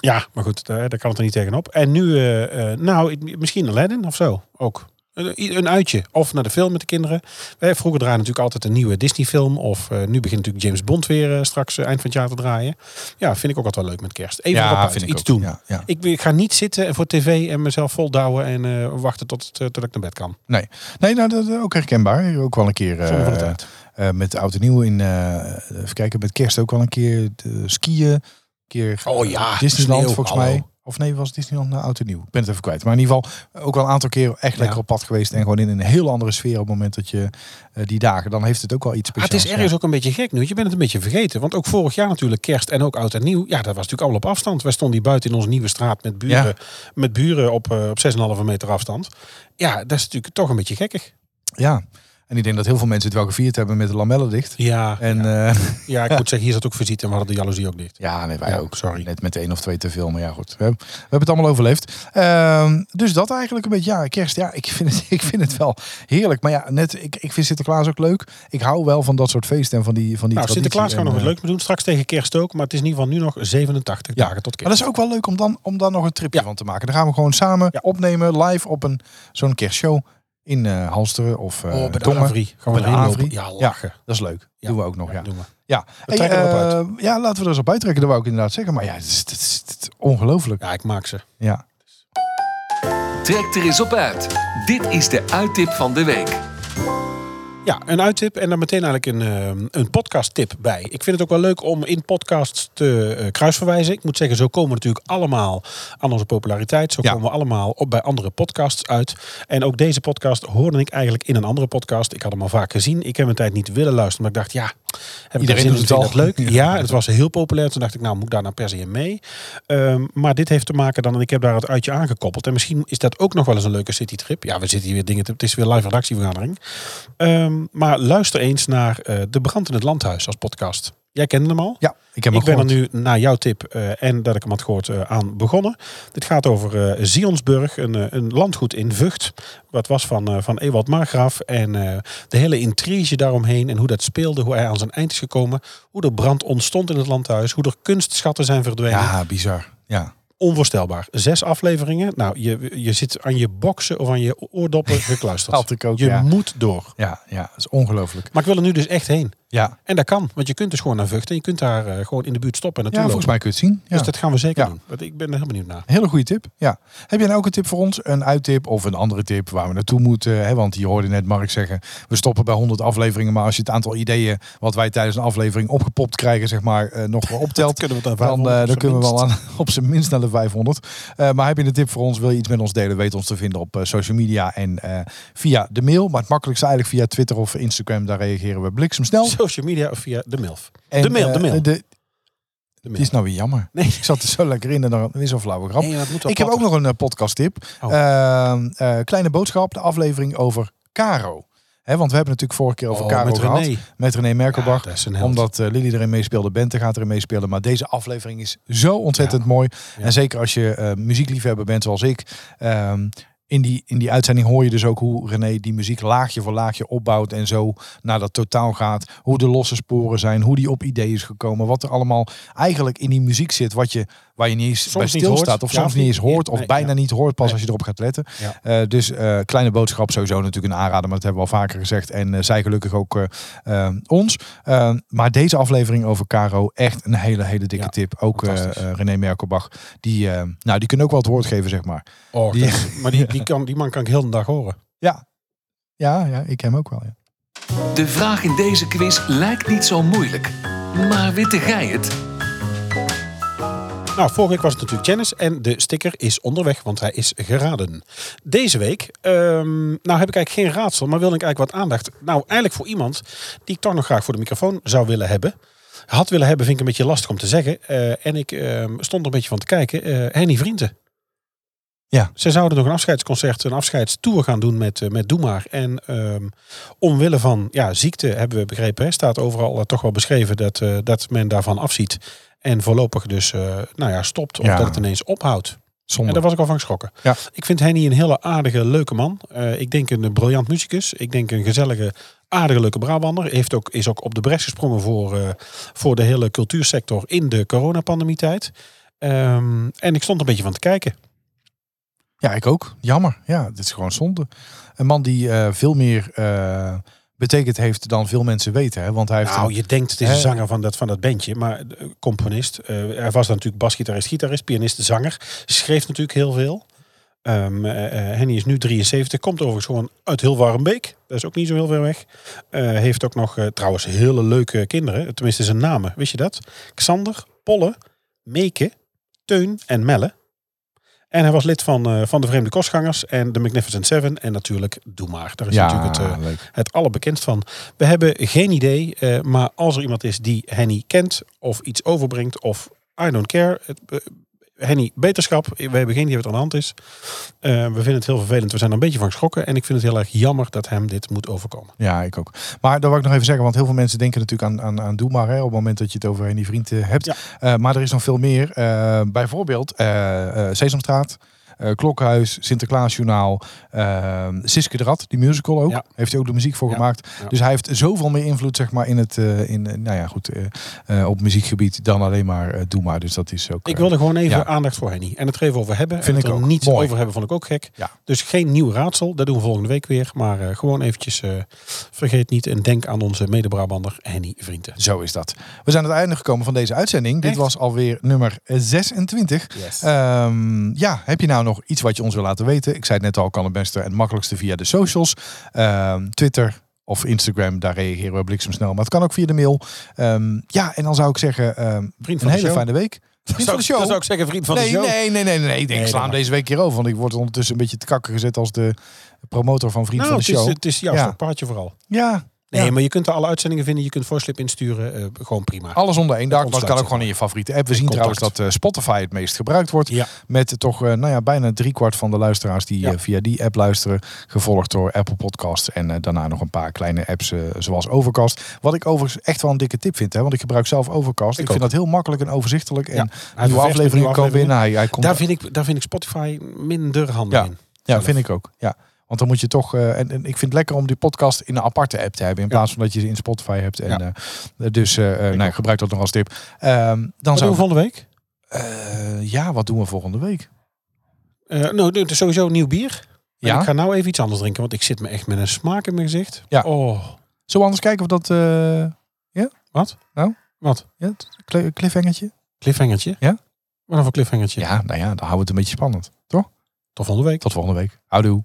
Speaker 3: Ja, maar goed, daar, daar kan het er niet tegenop. En nu, eh, eh, nou, ik- misschien Aladdin of zo ook. Een- Een uitje. Of naar de film met de kinderen. Wij vroeger draaien natuurlijk altijd een nieuwe Disney-film. Of eh, nu begint natuurlijk James Bond weer eh, straks eh, eind van het jaar te draaien. Ja, vind ik ook altijd wel leuk met kerst. Even erop uit, iets
Speaker 2: ook.
Speaker 3: doen.
Speaker 2: Ja, ja.
Speaker 3: Ik, ik ga niet zitten voor tv en mezelf voldouwen en eh, wachten tot, het, eh, tot ik naar bed kan.
Speaker 2: Nee, nee nou, dat is ook herkenbaar. Ook wel een keer
Speaker 3: Zonder van de
Speaker 2: eh,
Speaker 3: tijd.
Speaker 2: eh, met oud en nieuw in, eh, even kijken, met kerst ook wel een keer eh, skiën. Een keer eh,
Speaker 3: Oh ja,
Speaker 2: Disneyland
Speaker 3: sneeuw,
Speaker 2: volgens
Speaker 3: hallo.
Speaker 2: mij. Of nee, was Disneyland nou oud en nieuw? Ik ben het even kwijt. Maar in ieder geval ook al een aantal keer echt lekker op pad geweest. En gewoon in een heel andere sfeer op het moment dat je eh, die dagen... Dan heeft het ook wel iets
Speaker 3: Maar
Speaker 2: speciaals.
Speaker 3: Ah, het is ergens
Speaker 2: ja.
Speaker 3: ook een beetje gek nu. want Je bent het een beetje vergeten. Want ook vorig jaar natuurlijk kerst en ook oud en nieuw. Ja, dat was natuurlijk allemaal op afstand. Wij stonden hier buiten in onze nieuwe straat met buren,
Speaker 2: Ja.
Speaker 3: met buren op, eh, op 6,5 meter afstand. Ja, dat is natuurlijk toch een beetje gekkig.
Speaker 2: Ja. En ik denk dat heel veel mensen het wel gevierd hebben met de lamellen dicht.
Speaker 3: Ja,
Speaker 2: En eh,
Speaker 3: ja.
Speaker 2: ja,
Speaker 3: Ja, ik moet zeggen, hier zat ook visite en we hadden de jaloezie ook dicht.
Speaker 2: ja nee, wij
Speaker 3: Ja,
Speaker 2: ook.
Speaker 3: sorry.
Speaker 2: Net met één of twee te veel. Maar ja, goed. We hebben, we hebben het allemaal overleefd. Ehm, dus dat eigenlijk een beetje. Ja, kerst. Ja, ik vind het, ik vind het wel heerlijk. Maar ja, net, ik, ik vind Sinterklaas ook leuk. Ik hou wel van dat soort feesten en van die van die
Speaker 3: Nou,
Speaker 2: traditie
Speaker 3: Sinterklaas gaan we
Speaker 2: en,
Speaker 3: nog wat
Speaker 2: eh,
Speaker 3: leuk mee doen. Straks tegen kerst ook. Maar het is in ieder geval nu nog 87
Speaker 2: Ja.
Speaker 3: dagen tot kerst.
Speaker 2: Maar dat is ook wel leuk om dan, om dan nog een tripje
Speaker 3: Ja.
Speaker 2: van te maken. Dan gaan we gewoon samen
Speaker 3: Ja.
Speaker 2: opnemen, live op een zo'n kerstshow in eh Halsteren of eh
Speaker 3: oh, bij de
Speaker 2: Dongen.
Speaker 3: Avri. Gaan
Speaker 2: Bij
Speaker 3: we
Speaker 2: de
Speaker 3: erheen
Speaker 2: Avri.
Speaker 3: lopen. Ja, lachen.
Speaker 2: Dat is leuk.
Speaker 3: Ja.
Speaker 2: Doen we ook nog, ja.
Speaker 3: Doen we.
Speaker 2: Ja,
Speaker 3: We trekken erop
Speaker 2: eh, ja laten we er eens op uittrekken. Dat wou ik inderdaad zeggen. Maar ja, het is, het is- het is ongelooflijk.
Speaker 3: Ja, ik maak ze.
Speaker 2: Ja.
Speaker 1: Trek er eens op uit. Dit is de uittip van de week.
Speaker 3: Ja, een uittip en dan meteen eigenlijk een, ehm, een podcasttip bij. Ik vind het ook wel leuk om in podcasts te eh, kruisverwijzen. Ik moet zeggen, zo komen we natuurlijk allemaal aan onze populariteit. Zo
Speaker 2: Ja.
Speaker 3: komen we allemaal op bij andere podcasts uit. En ook deze podcast hoorde ik eigenlijk in een andere podcast. Ik had hem al vaak gezien. Ik heb een tijd niet willen luisteren, maar ik dacht, ja, heb ik
Speaker 2: Iedereen
Speaker 3: daar zin in?
Speaker 2: doet het
Speaker 3: Vind
Speaker 2: al.
Speaker 3: ik dat leuk? Ja, het was heel populair. Toen dacht ik, nou moet ik daar nou per se in mee. Ehm, maar dit heeft te maken dan, en ik heb daar het uitje aangekoppeld. En misschien is dat ook nog wel eens een leuke citytrip. Ja, we zitten hier weer dingen te- Het is weer live redactievergadering. Ehm, maar luister eens naar eh, De Brand in het Landhuis als podcast. Jij kende hem al?
Speaker 2: Ja, ik heb
Speaker 3: Ik
Speaker 2: hem
Speaker 3: ben er
Speaker 2: gehoord.
Speaker 3: nu na jouw tip eh, en dat ik hem had gehoord eh, aan begonnen. Dit gaat over eh, Zionsburg, een, eh, een landgoed in Vught. Wat was van, eh, van Ewald Margraaf. En eh, de hele intrige daaromheen en hoe dat speelde, hoe hij aan zijn eind is gekomen. Hoe de brand ontstond in het landhuis, hoe er kunstschatten zijn verdwenen.
Speaker 2: Ja, bizar. Ja.
Speaker 3: Onvoorstelbaar. Zes afleveringen. Nou, je, je zit aan je boksen of aan je oordoppen gekluisterd.
Speaker 2: Had ik ook,
Speaker 3: je
Speaker 2: ja.
Speaker 3: moet door.
Speaker 2: Ja, ja, dat is ongelooflijk.
Speaker 3: Maar ik wil er nu dus echt heen.
Speaker 2: Ja.
Speaker 3: En dat kan, want je kunt dus gewoon naar Vught en je kunt daar eh, gewoon in de buurt stoppen en
Speaker 2: Ja,
Speaker 3: naartoe
Speaker 2: volgens
Speaker 3: lopen.
Speaker 2: mij kun je het zien. Ja.
Speaker 3: Dus dat gaan we zeker
Speaker 2: Ja.
Speaker 3: doen. Want ik ben er heel benieuwd naar.
Speaker 2: Hele goede tip. Ja. Heb jij nou ook een tip voor ons? Een uittip of een andere tip waar we naartoe moeten? Hè? Want je hoorde net Mark zeggen, we stoppen bij 100 afleveringen. Maar als je het aantal ideeën wat wij tijdens een aflevering opgepopt krijgen, zeg maar, eh, nog wel optelt.
Speaker 3: kunnen we dan
Speaker 2: dan,
Speaker 3: 500
Speaker 2: eh,
Speaker 3: op
Speaker 2: dan
Speaker 3: zijn
Speaker 2: kunnen we
Speaker 3: minst.
Speaker 2: wel aan, op zijn minst naar de 500. Eh, maar heb je een tip voor ons? Wil je iets met ons delen? Weet ons te vinden op eh, social media en eh, via de mail. Maar het makkelijkste eigenlijk via Twitter of Instagram. Daar reageren we bliksemsnel.
Speaker 3: Social media of via de MILF.
Speaker 2: En,
Speaker 3: de mail, de
Speaker 2: eh,
Speaker 3: mail.
Speaker 2: de-
Speaker 3: De
Speaker 2: Het
Speaker 3: mail.
Speaker 2: is nou weer jammer.
Speaker 3: Nee.
Speaker 2: Ik zat er zo lekker in en dan weer zo'n flauwe grap.
Speaker 3: Nee, dat moet wel
Speaker 2: ik heb ook
Speaker 3: platter.
Speaker 2: nog een eh, podcast tip.
Speaker 3: Oh.
Speaker 2: eh, kleine boodschap, de aflevering over Caro. Hè, want we hebben natuurlijk vorige keer over
Speaker 3: Oh,
Speaker 2: Caro
Speaker 3: met
Speaker 2: gehad.
Speaker 3: René.
Speaker 2: Met René
Speaker 3: Ja,
Speaker 2: Merkelbach.
Speaker 3: dat is een held.
Speaker 2: omdat eh, Lily erin meespeelde, Bente gaat erin meespelen. Maar deze aflevering is zo ontzettend mooi. En zeker als je eh, muziekliefhebber bent zoals ik. ehm, in die, in die uitzending hoor je dus ook hoe René die muziek laagje voor laagje opbouwt en zo naar dat totaal gaat. Hoe de losse sporen zijn, hoe die op ideeën is gekomen. Wat er allemaal eigenlijk in die muziek zit, wat je, waar je niet eens
Speaker 3: Soms
Speaker 2: bij
Speaker 3: niet
Speaker 2: stilstaat.
Speaker 3: hoort.
Speaker 2: Of
Speaker 3: Ja,
Speaker 2: soms
Speaker 3: of
Speaker 2: niet
Speaker 3: niet.
Speaker 2: eens hoort, of
Speaker 3: Nee,
Speaker 2: bijna
Speaker 3: ja.
Speaker 2: niet hoort pas
Speaker 3: Nee.
Speaker 2: als je erop gaat letten.
Speaker 3: Ja.
Speaker 2: Eh, dus eh, kleine boodschap sowieso natuurlijk een aanrader, maar dat hebben we al vaker gezegd. En eh, zij gelukkig ook eh, eh, ons. Eh, maar deze aflevering over Caro, echt een hele, hele dikke
Speaker 3: Ja,
Speaker 2: tip. Ook eh,
Speaker 3: fantastisch.
Speaker 2: eh, René Merkelbach, die, eh, nou, die kunnen ook wel het woord geven, zeg maar.
Speaker 3: Oh,
Speaker 2: Die-
Speaker 3: dat is- maar die, die, kan, die man kan ik heel de dag horen.
Speaker 2: Ja, ja, ja ik hem ook wel. Ja.
Speaker 1: De vraag in deze quiz lijkt niet zo moeilijk. Maar witte gij het?
Speaker 3: Nou, vorige week was het natuurlijk Janice en de sticker is onderweg, want hij is geraden. Deze week, ehm, nou heb ik eigenlijk geen raadsel, maar wilde ik eigenlijk wat aandacht. Nou, eigenlijk voor iemand die ik toch nog graag voor de microfoon zou willen hebben. Had willen hebben, vind ik een beetje lastig om te zeggen. Eh, en ik ehm, stond er een beetje van te kijken. Eh Henny Vrienden.
Speaker 2: Ja.
Speaker 3: Ze zouden nog een afscheidsconcert, een afscheidstour gaan doen met, eh, met Doe Maar. En ehm, omwille van ja, ziekte, hebben we begrepen, hè, staat overal eh, toch wel beschreven dat, eh, dat men daarvan afziet. En voorlopig dus eh, nou ja, stopt of
Speaker 2: Ja.
Speaker 3: dat het ineens ophoudt.
Speaker 2: Zonde.
Speaker 3: En daar was ik al van geschrokken.
Speaker 2: Ja.
Speaker 3: Ik vind Henny een hele aardige, leuke man. Eh, ik denk een eh, briljant muzikus. Ik denk een gezellige, aardige, leuke Brabander. Heeft ook, is ook op de bres gesprongen voor, eh, voor de hele cultuursector in de coronapandemietijd. Ehm en ik stond een beetje van te kijken.
Speaker 2: Ja, ik ook. Jammer. Ja, dit is gewoon zonde. Een man die eh, veel meer eh, betekend heeft dan veel mensen weten. Hè? Want hij heeft
Speaker 3: Nou,
Speaker 2: een-
Speaker 3: je denkt het is een
Speaker 2: Hè?
Speaker 3: zanger van dat, van dat bandje, maar eh, componist. Eh, hij was dan natuurlijk basgitarist, gitarist, pianist, zanger. Schreef natuurlijk heel veel. Ehm, eh, eh, Henny is nu 73, komt overigens gewoon uit heel Warmbeek. Dat is ook niet zo heel ver weg. Eh, heeft ook nog eh, trouwens hele leuke kinderen. Tenminste zijn namen, wist je dat? Xander, Polle, Meke, Teun en Melle. En hij was lid van, eh, van de Vreemde Kostgangers en de Magnificent Seven. En natuurlijk Doe Maar. Daar is natuurlijk het, eh,
Speaker 2: leuk.
Speaker 3: het allerbekendst van. We hebben geen idee, eh, maar als er iemand is die Henny kent of iets overbrengt of I don't care. Het, eh, Henny, beterschap. We hebben geen idee wat er aan de hand is. Eh, we vinden het heel vervelend. We zijn er een beetje van geschrokken. En ik vind het heel erg jammer dat hem dit moet overkomen.
Speaker 2: Ja, ik ook. Maar daar wil ik nog even zeggen, want heel veel mensen denken natuurlijk aan, aan, aan Doe maar, hè, op het moment dat je het over die vriend eh, hebt.
Speaker 3: Ja.
Speaker 2: Eh, maar er is nog veel meer. Eh, bijvoorbeeld eh, eh, Sesamstraat, eh, Klokhuis, Sinterklaasjournaal, eh, Siske de Rat, die musical ook.
Speaker 3: Ja.
Speaker 2: Heeft hij ook de muziek voor
Speaker 3: Ja.
Speaker 2: gemaakt.
Speaker 3: Ja.
Speaker 2: Dus hij heeft zoveel meer invloed zeg maar, in het, eh, in, eh, nou ja, goed, eh, eh, op muziekgebied dan alleen maar eh, Doe maar. Dus dat is ook...
Speaker 3: Ik
Speaker 2: eh,
Speaker 3: wilde gewoon even
Speaker 2: Ja.
Speaker 3: aandacht voor Henny. En het er even over hebben.
Speaker 2: Vind
Speaker 3: en het
Speaker 2: ik
Speaker 3: er
Speaker 2: ook.
Speaker 3: niet
Speaker 2: Mooi.
Speaker 3: over hebben vond ik ook gek.
Speaker 2: Ja.
Speaker 3: Dus geen nieuw raadsel. Dat doen we volgende week weer. Maar eh, gewoon eventjes eh, vergeet niet en denk aan onze mede-Brabander Henny Vrienden.
Speaker 2: Zo is dat. We zijn aan het einde gekomen van deze uitzending. Dit
Speaker 3: Echt?
Speaker 2: was alweer nummer 26.
Speaker 3: Yes.
Speaker 2: Ehm, ja, heb je nou nog iets wat je ons wil laten weten? Ik zei het net al, kan het beste en het makkelijkste via de socials. Ehm, Twitter of Instagram, daar reageren we bliksemsnel. Maar het kan ook via de mail. Ehm, ja, en dan zou ik zeggen, ehm,
Speaker 3: Vriend
Speaker 2: een
Speaker 3: van de
Speaker 2: hele
Speaker 3: show.
Speaker 2: fijne week. Vriend van de show.
Speaker 3: ik zeggen vriend van
Speaker 2: Nee, nee, nee, nee, nee. Ik denk,
Speaker 3: Nee,
Speaker 2: ik sla
Speaker 3: dat
Speaker 2: hem deze week hier over. Want ik word ondertussen een beetje te kakken gezet als de promotor van Vriend
Speaker 3: Nou,
Speaker 2: van de
Speaker 3: het, is,
Speaker 2: Show.
Speaker 3: het is jouw
Speaker 2: Ja.
Speaker 3: stokpaardje vooral.
Speaker 2: Ja,
Speaker 3: Nee,
Speaker 2: Ja.
Speaker 3: maar je kunt er alle uitzendingen vinden. Je kunt voorslip insturen. eh, gewoon prima.
Speaker 2: alles onder één dak. Dat
Speaker 3: ontsluit
Speaker 2: kan ook
Speaker 3: zich
Speaker 2: gewoon in je favoriete app. We zien
Speaker 3: Contact.
Speaker 2: trouwens dat eh, Spotify het meest gebruikt wordt.
Speaker 3: Ja.
Speaker 2: Met toch eh, nou ja, bijna driekwart van de luisteraars die
Speaker 3: Ja.
Speaker 2: eh, via die app luisteren. Gevolgd door Apple Podcasts en eh, daarna nog een paar kleine apps eh, zoals Overcast. Wat ik overigens echt wel een dikke tip vind. Hè, want ik gebruik zelf Overcast. Ik,
Speaker 3: Ik
Speaker 2: vind
Speaker 3: ook.
Speaker 2: dat heel makkelijk en overzichtelijk.
Speaker 3: Ja.
Speaker 2: En
Speaker 3: Hij
Speaker 2: nieuwe
Speaker 3: ververst
Speaker 2: afleveringen
Speaker 3: nieuwe
Speaker 2: komen binnen.
Speaker 3: afleveringen.
Speaker 2: Hij, hij komt
Speaker 3: Daar vind, ik, daar vind ik Spotify minder handig
Speaker 2: Ja.
Speaker 3: in.
Speaker 2: ja,
Speaker 3: zelf.
Speaker 2: vind ik ook. Ja. Want dan moet je toch. eh, en, en ik vind het lekker om die podcast in een aparte app te hebben. In
Speaker 3: Ja.
Speaker 2: plaats van dat je ze in Spotify hebt. En,
Speaker 3: Ja.
Speaker 2: eh, dus eh, eh, nou, gebruik dat nog als tip. Ehm, dan
Speaker 3: Wat doen
Speaker 2: zou
Speaker 3: we
Speaker 2: ik-
Speaker 3: volgende week?
Speaker 2: Eh, ja, wat doen we volgende week?
Speaker 3: Eh nou, dit is sowieso een nieuw bier. En
Speaker 2: Ja.
Speaker 3: Ik ga nou even iets anders drinken, want ik zit me echt met een smaak in mijn gezicht.
Speaker 2: Ja.
Speaker 3: Oh,
Speaker 2: Zullen we anders kijken of dat. eh Nou?
Speaker 3: wat?
Speaker 2: ja, het cli- cliffhangertje?
Speaker 3: Cliffhangertje?
Speaker 2: Ja.
Speaker 3: Wat dan voor cliffhangertje?
Speaker 2: Ja, nou ja, dan houden we het een beetje spannend. Toch?
Speaker 3: Tot volgende week.
Speaker 2: Tot volgende week. Houdoe.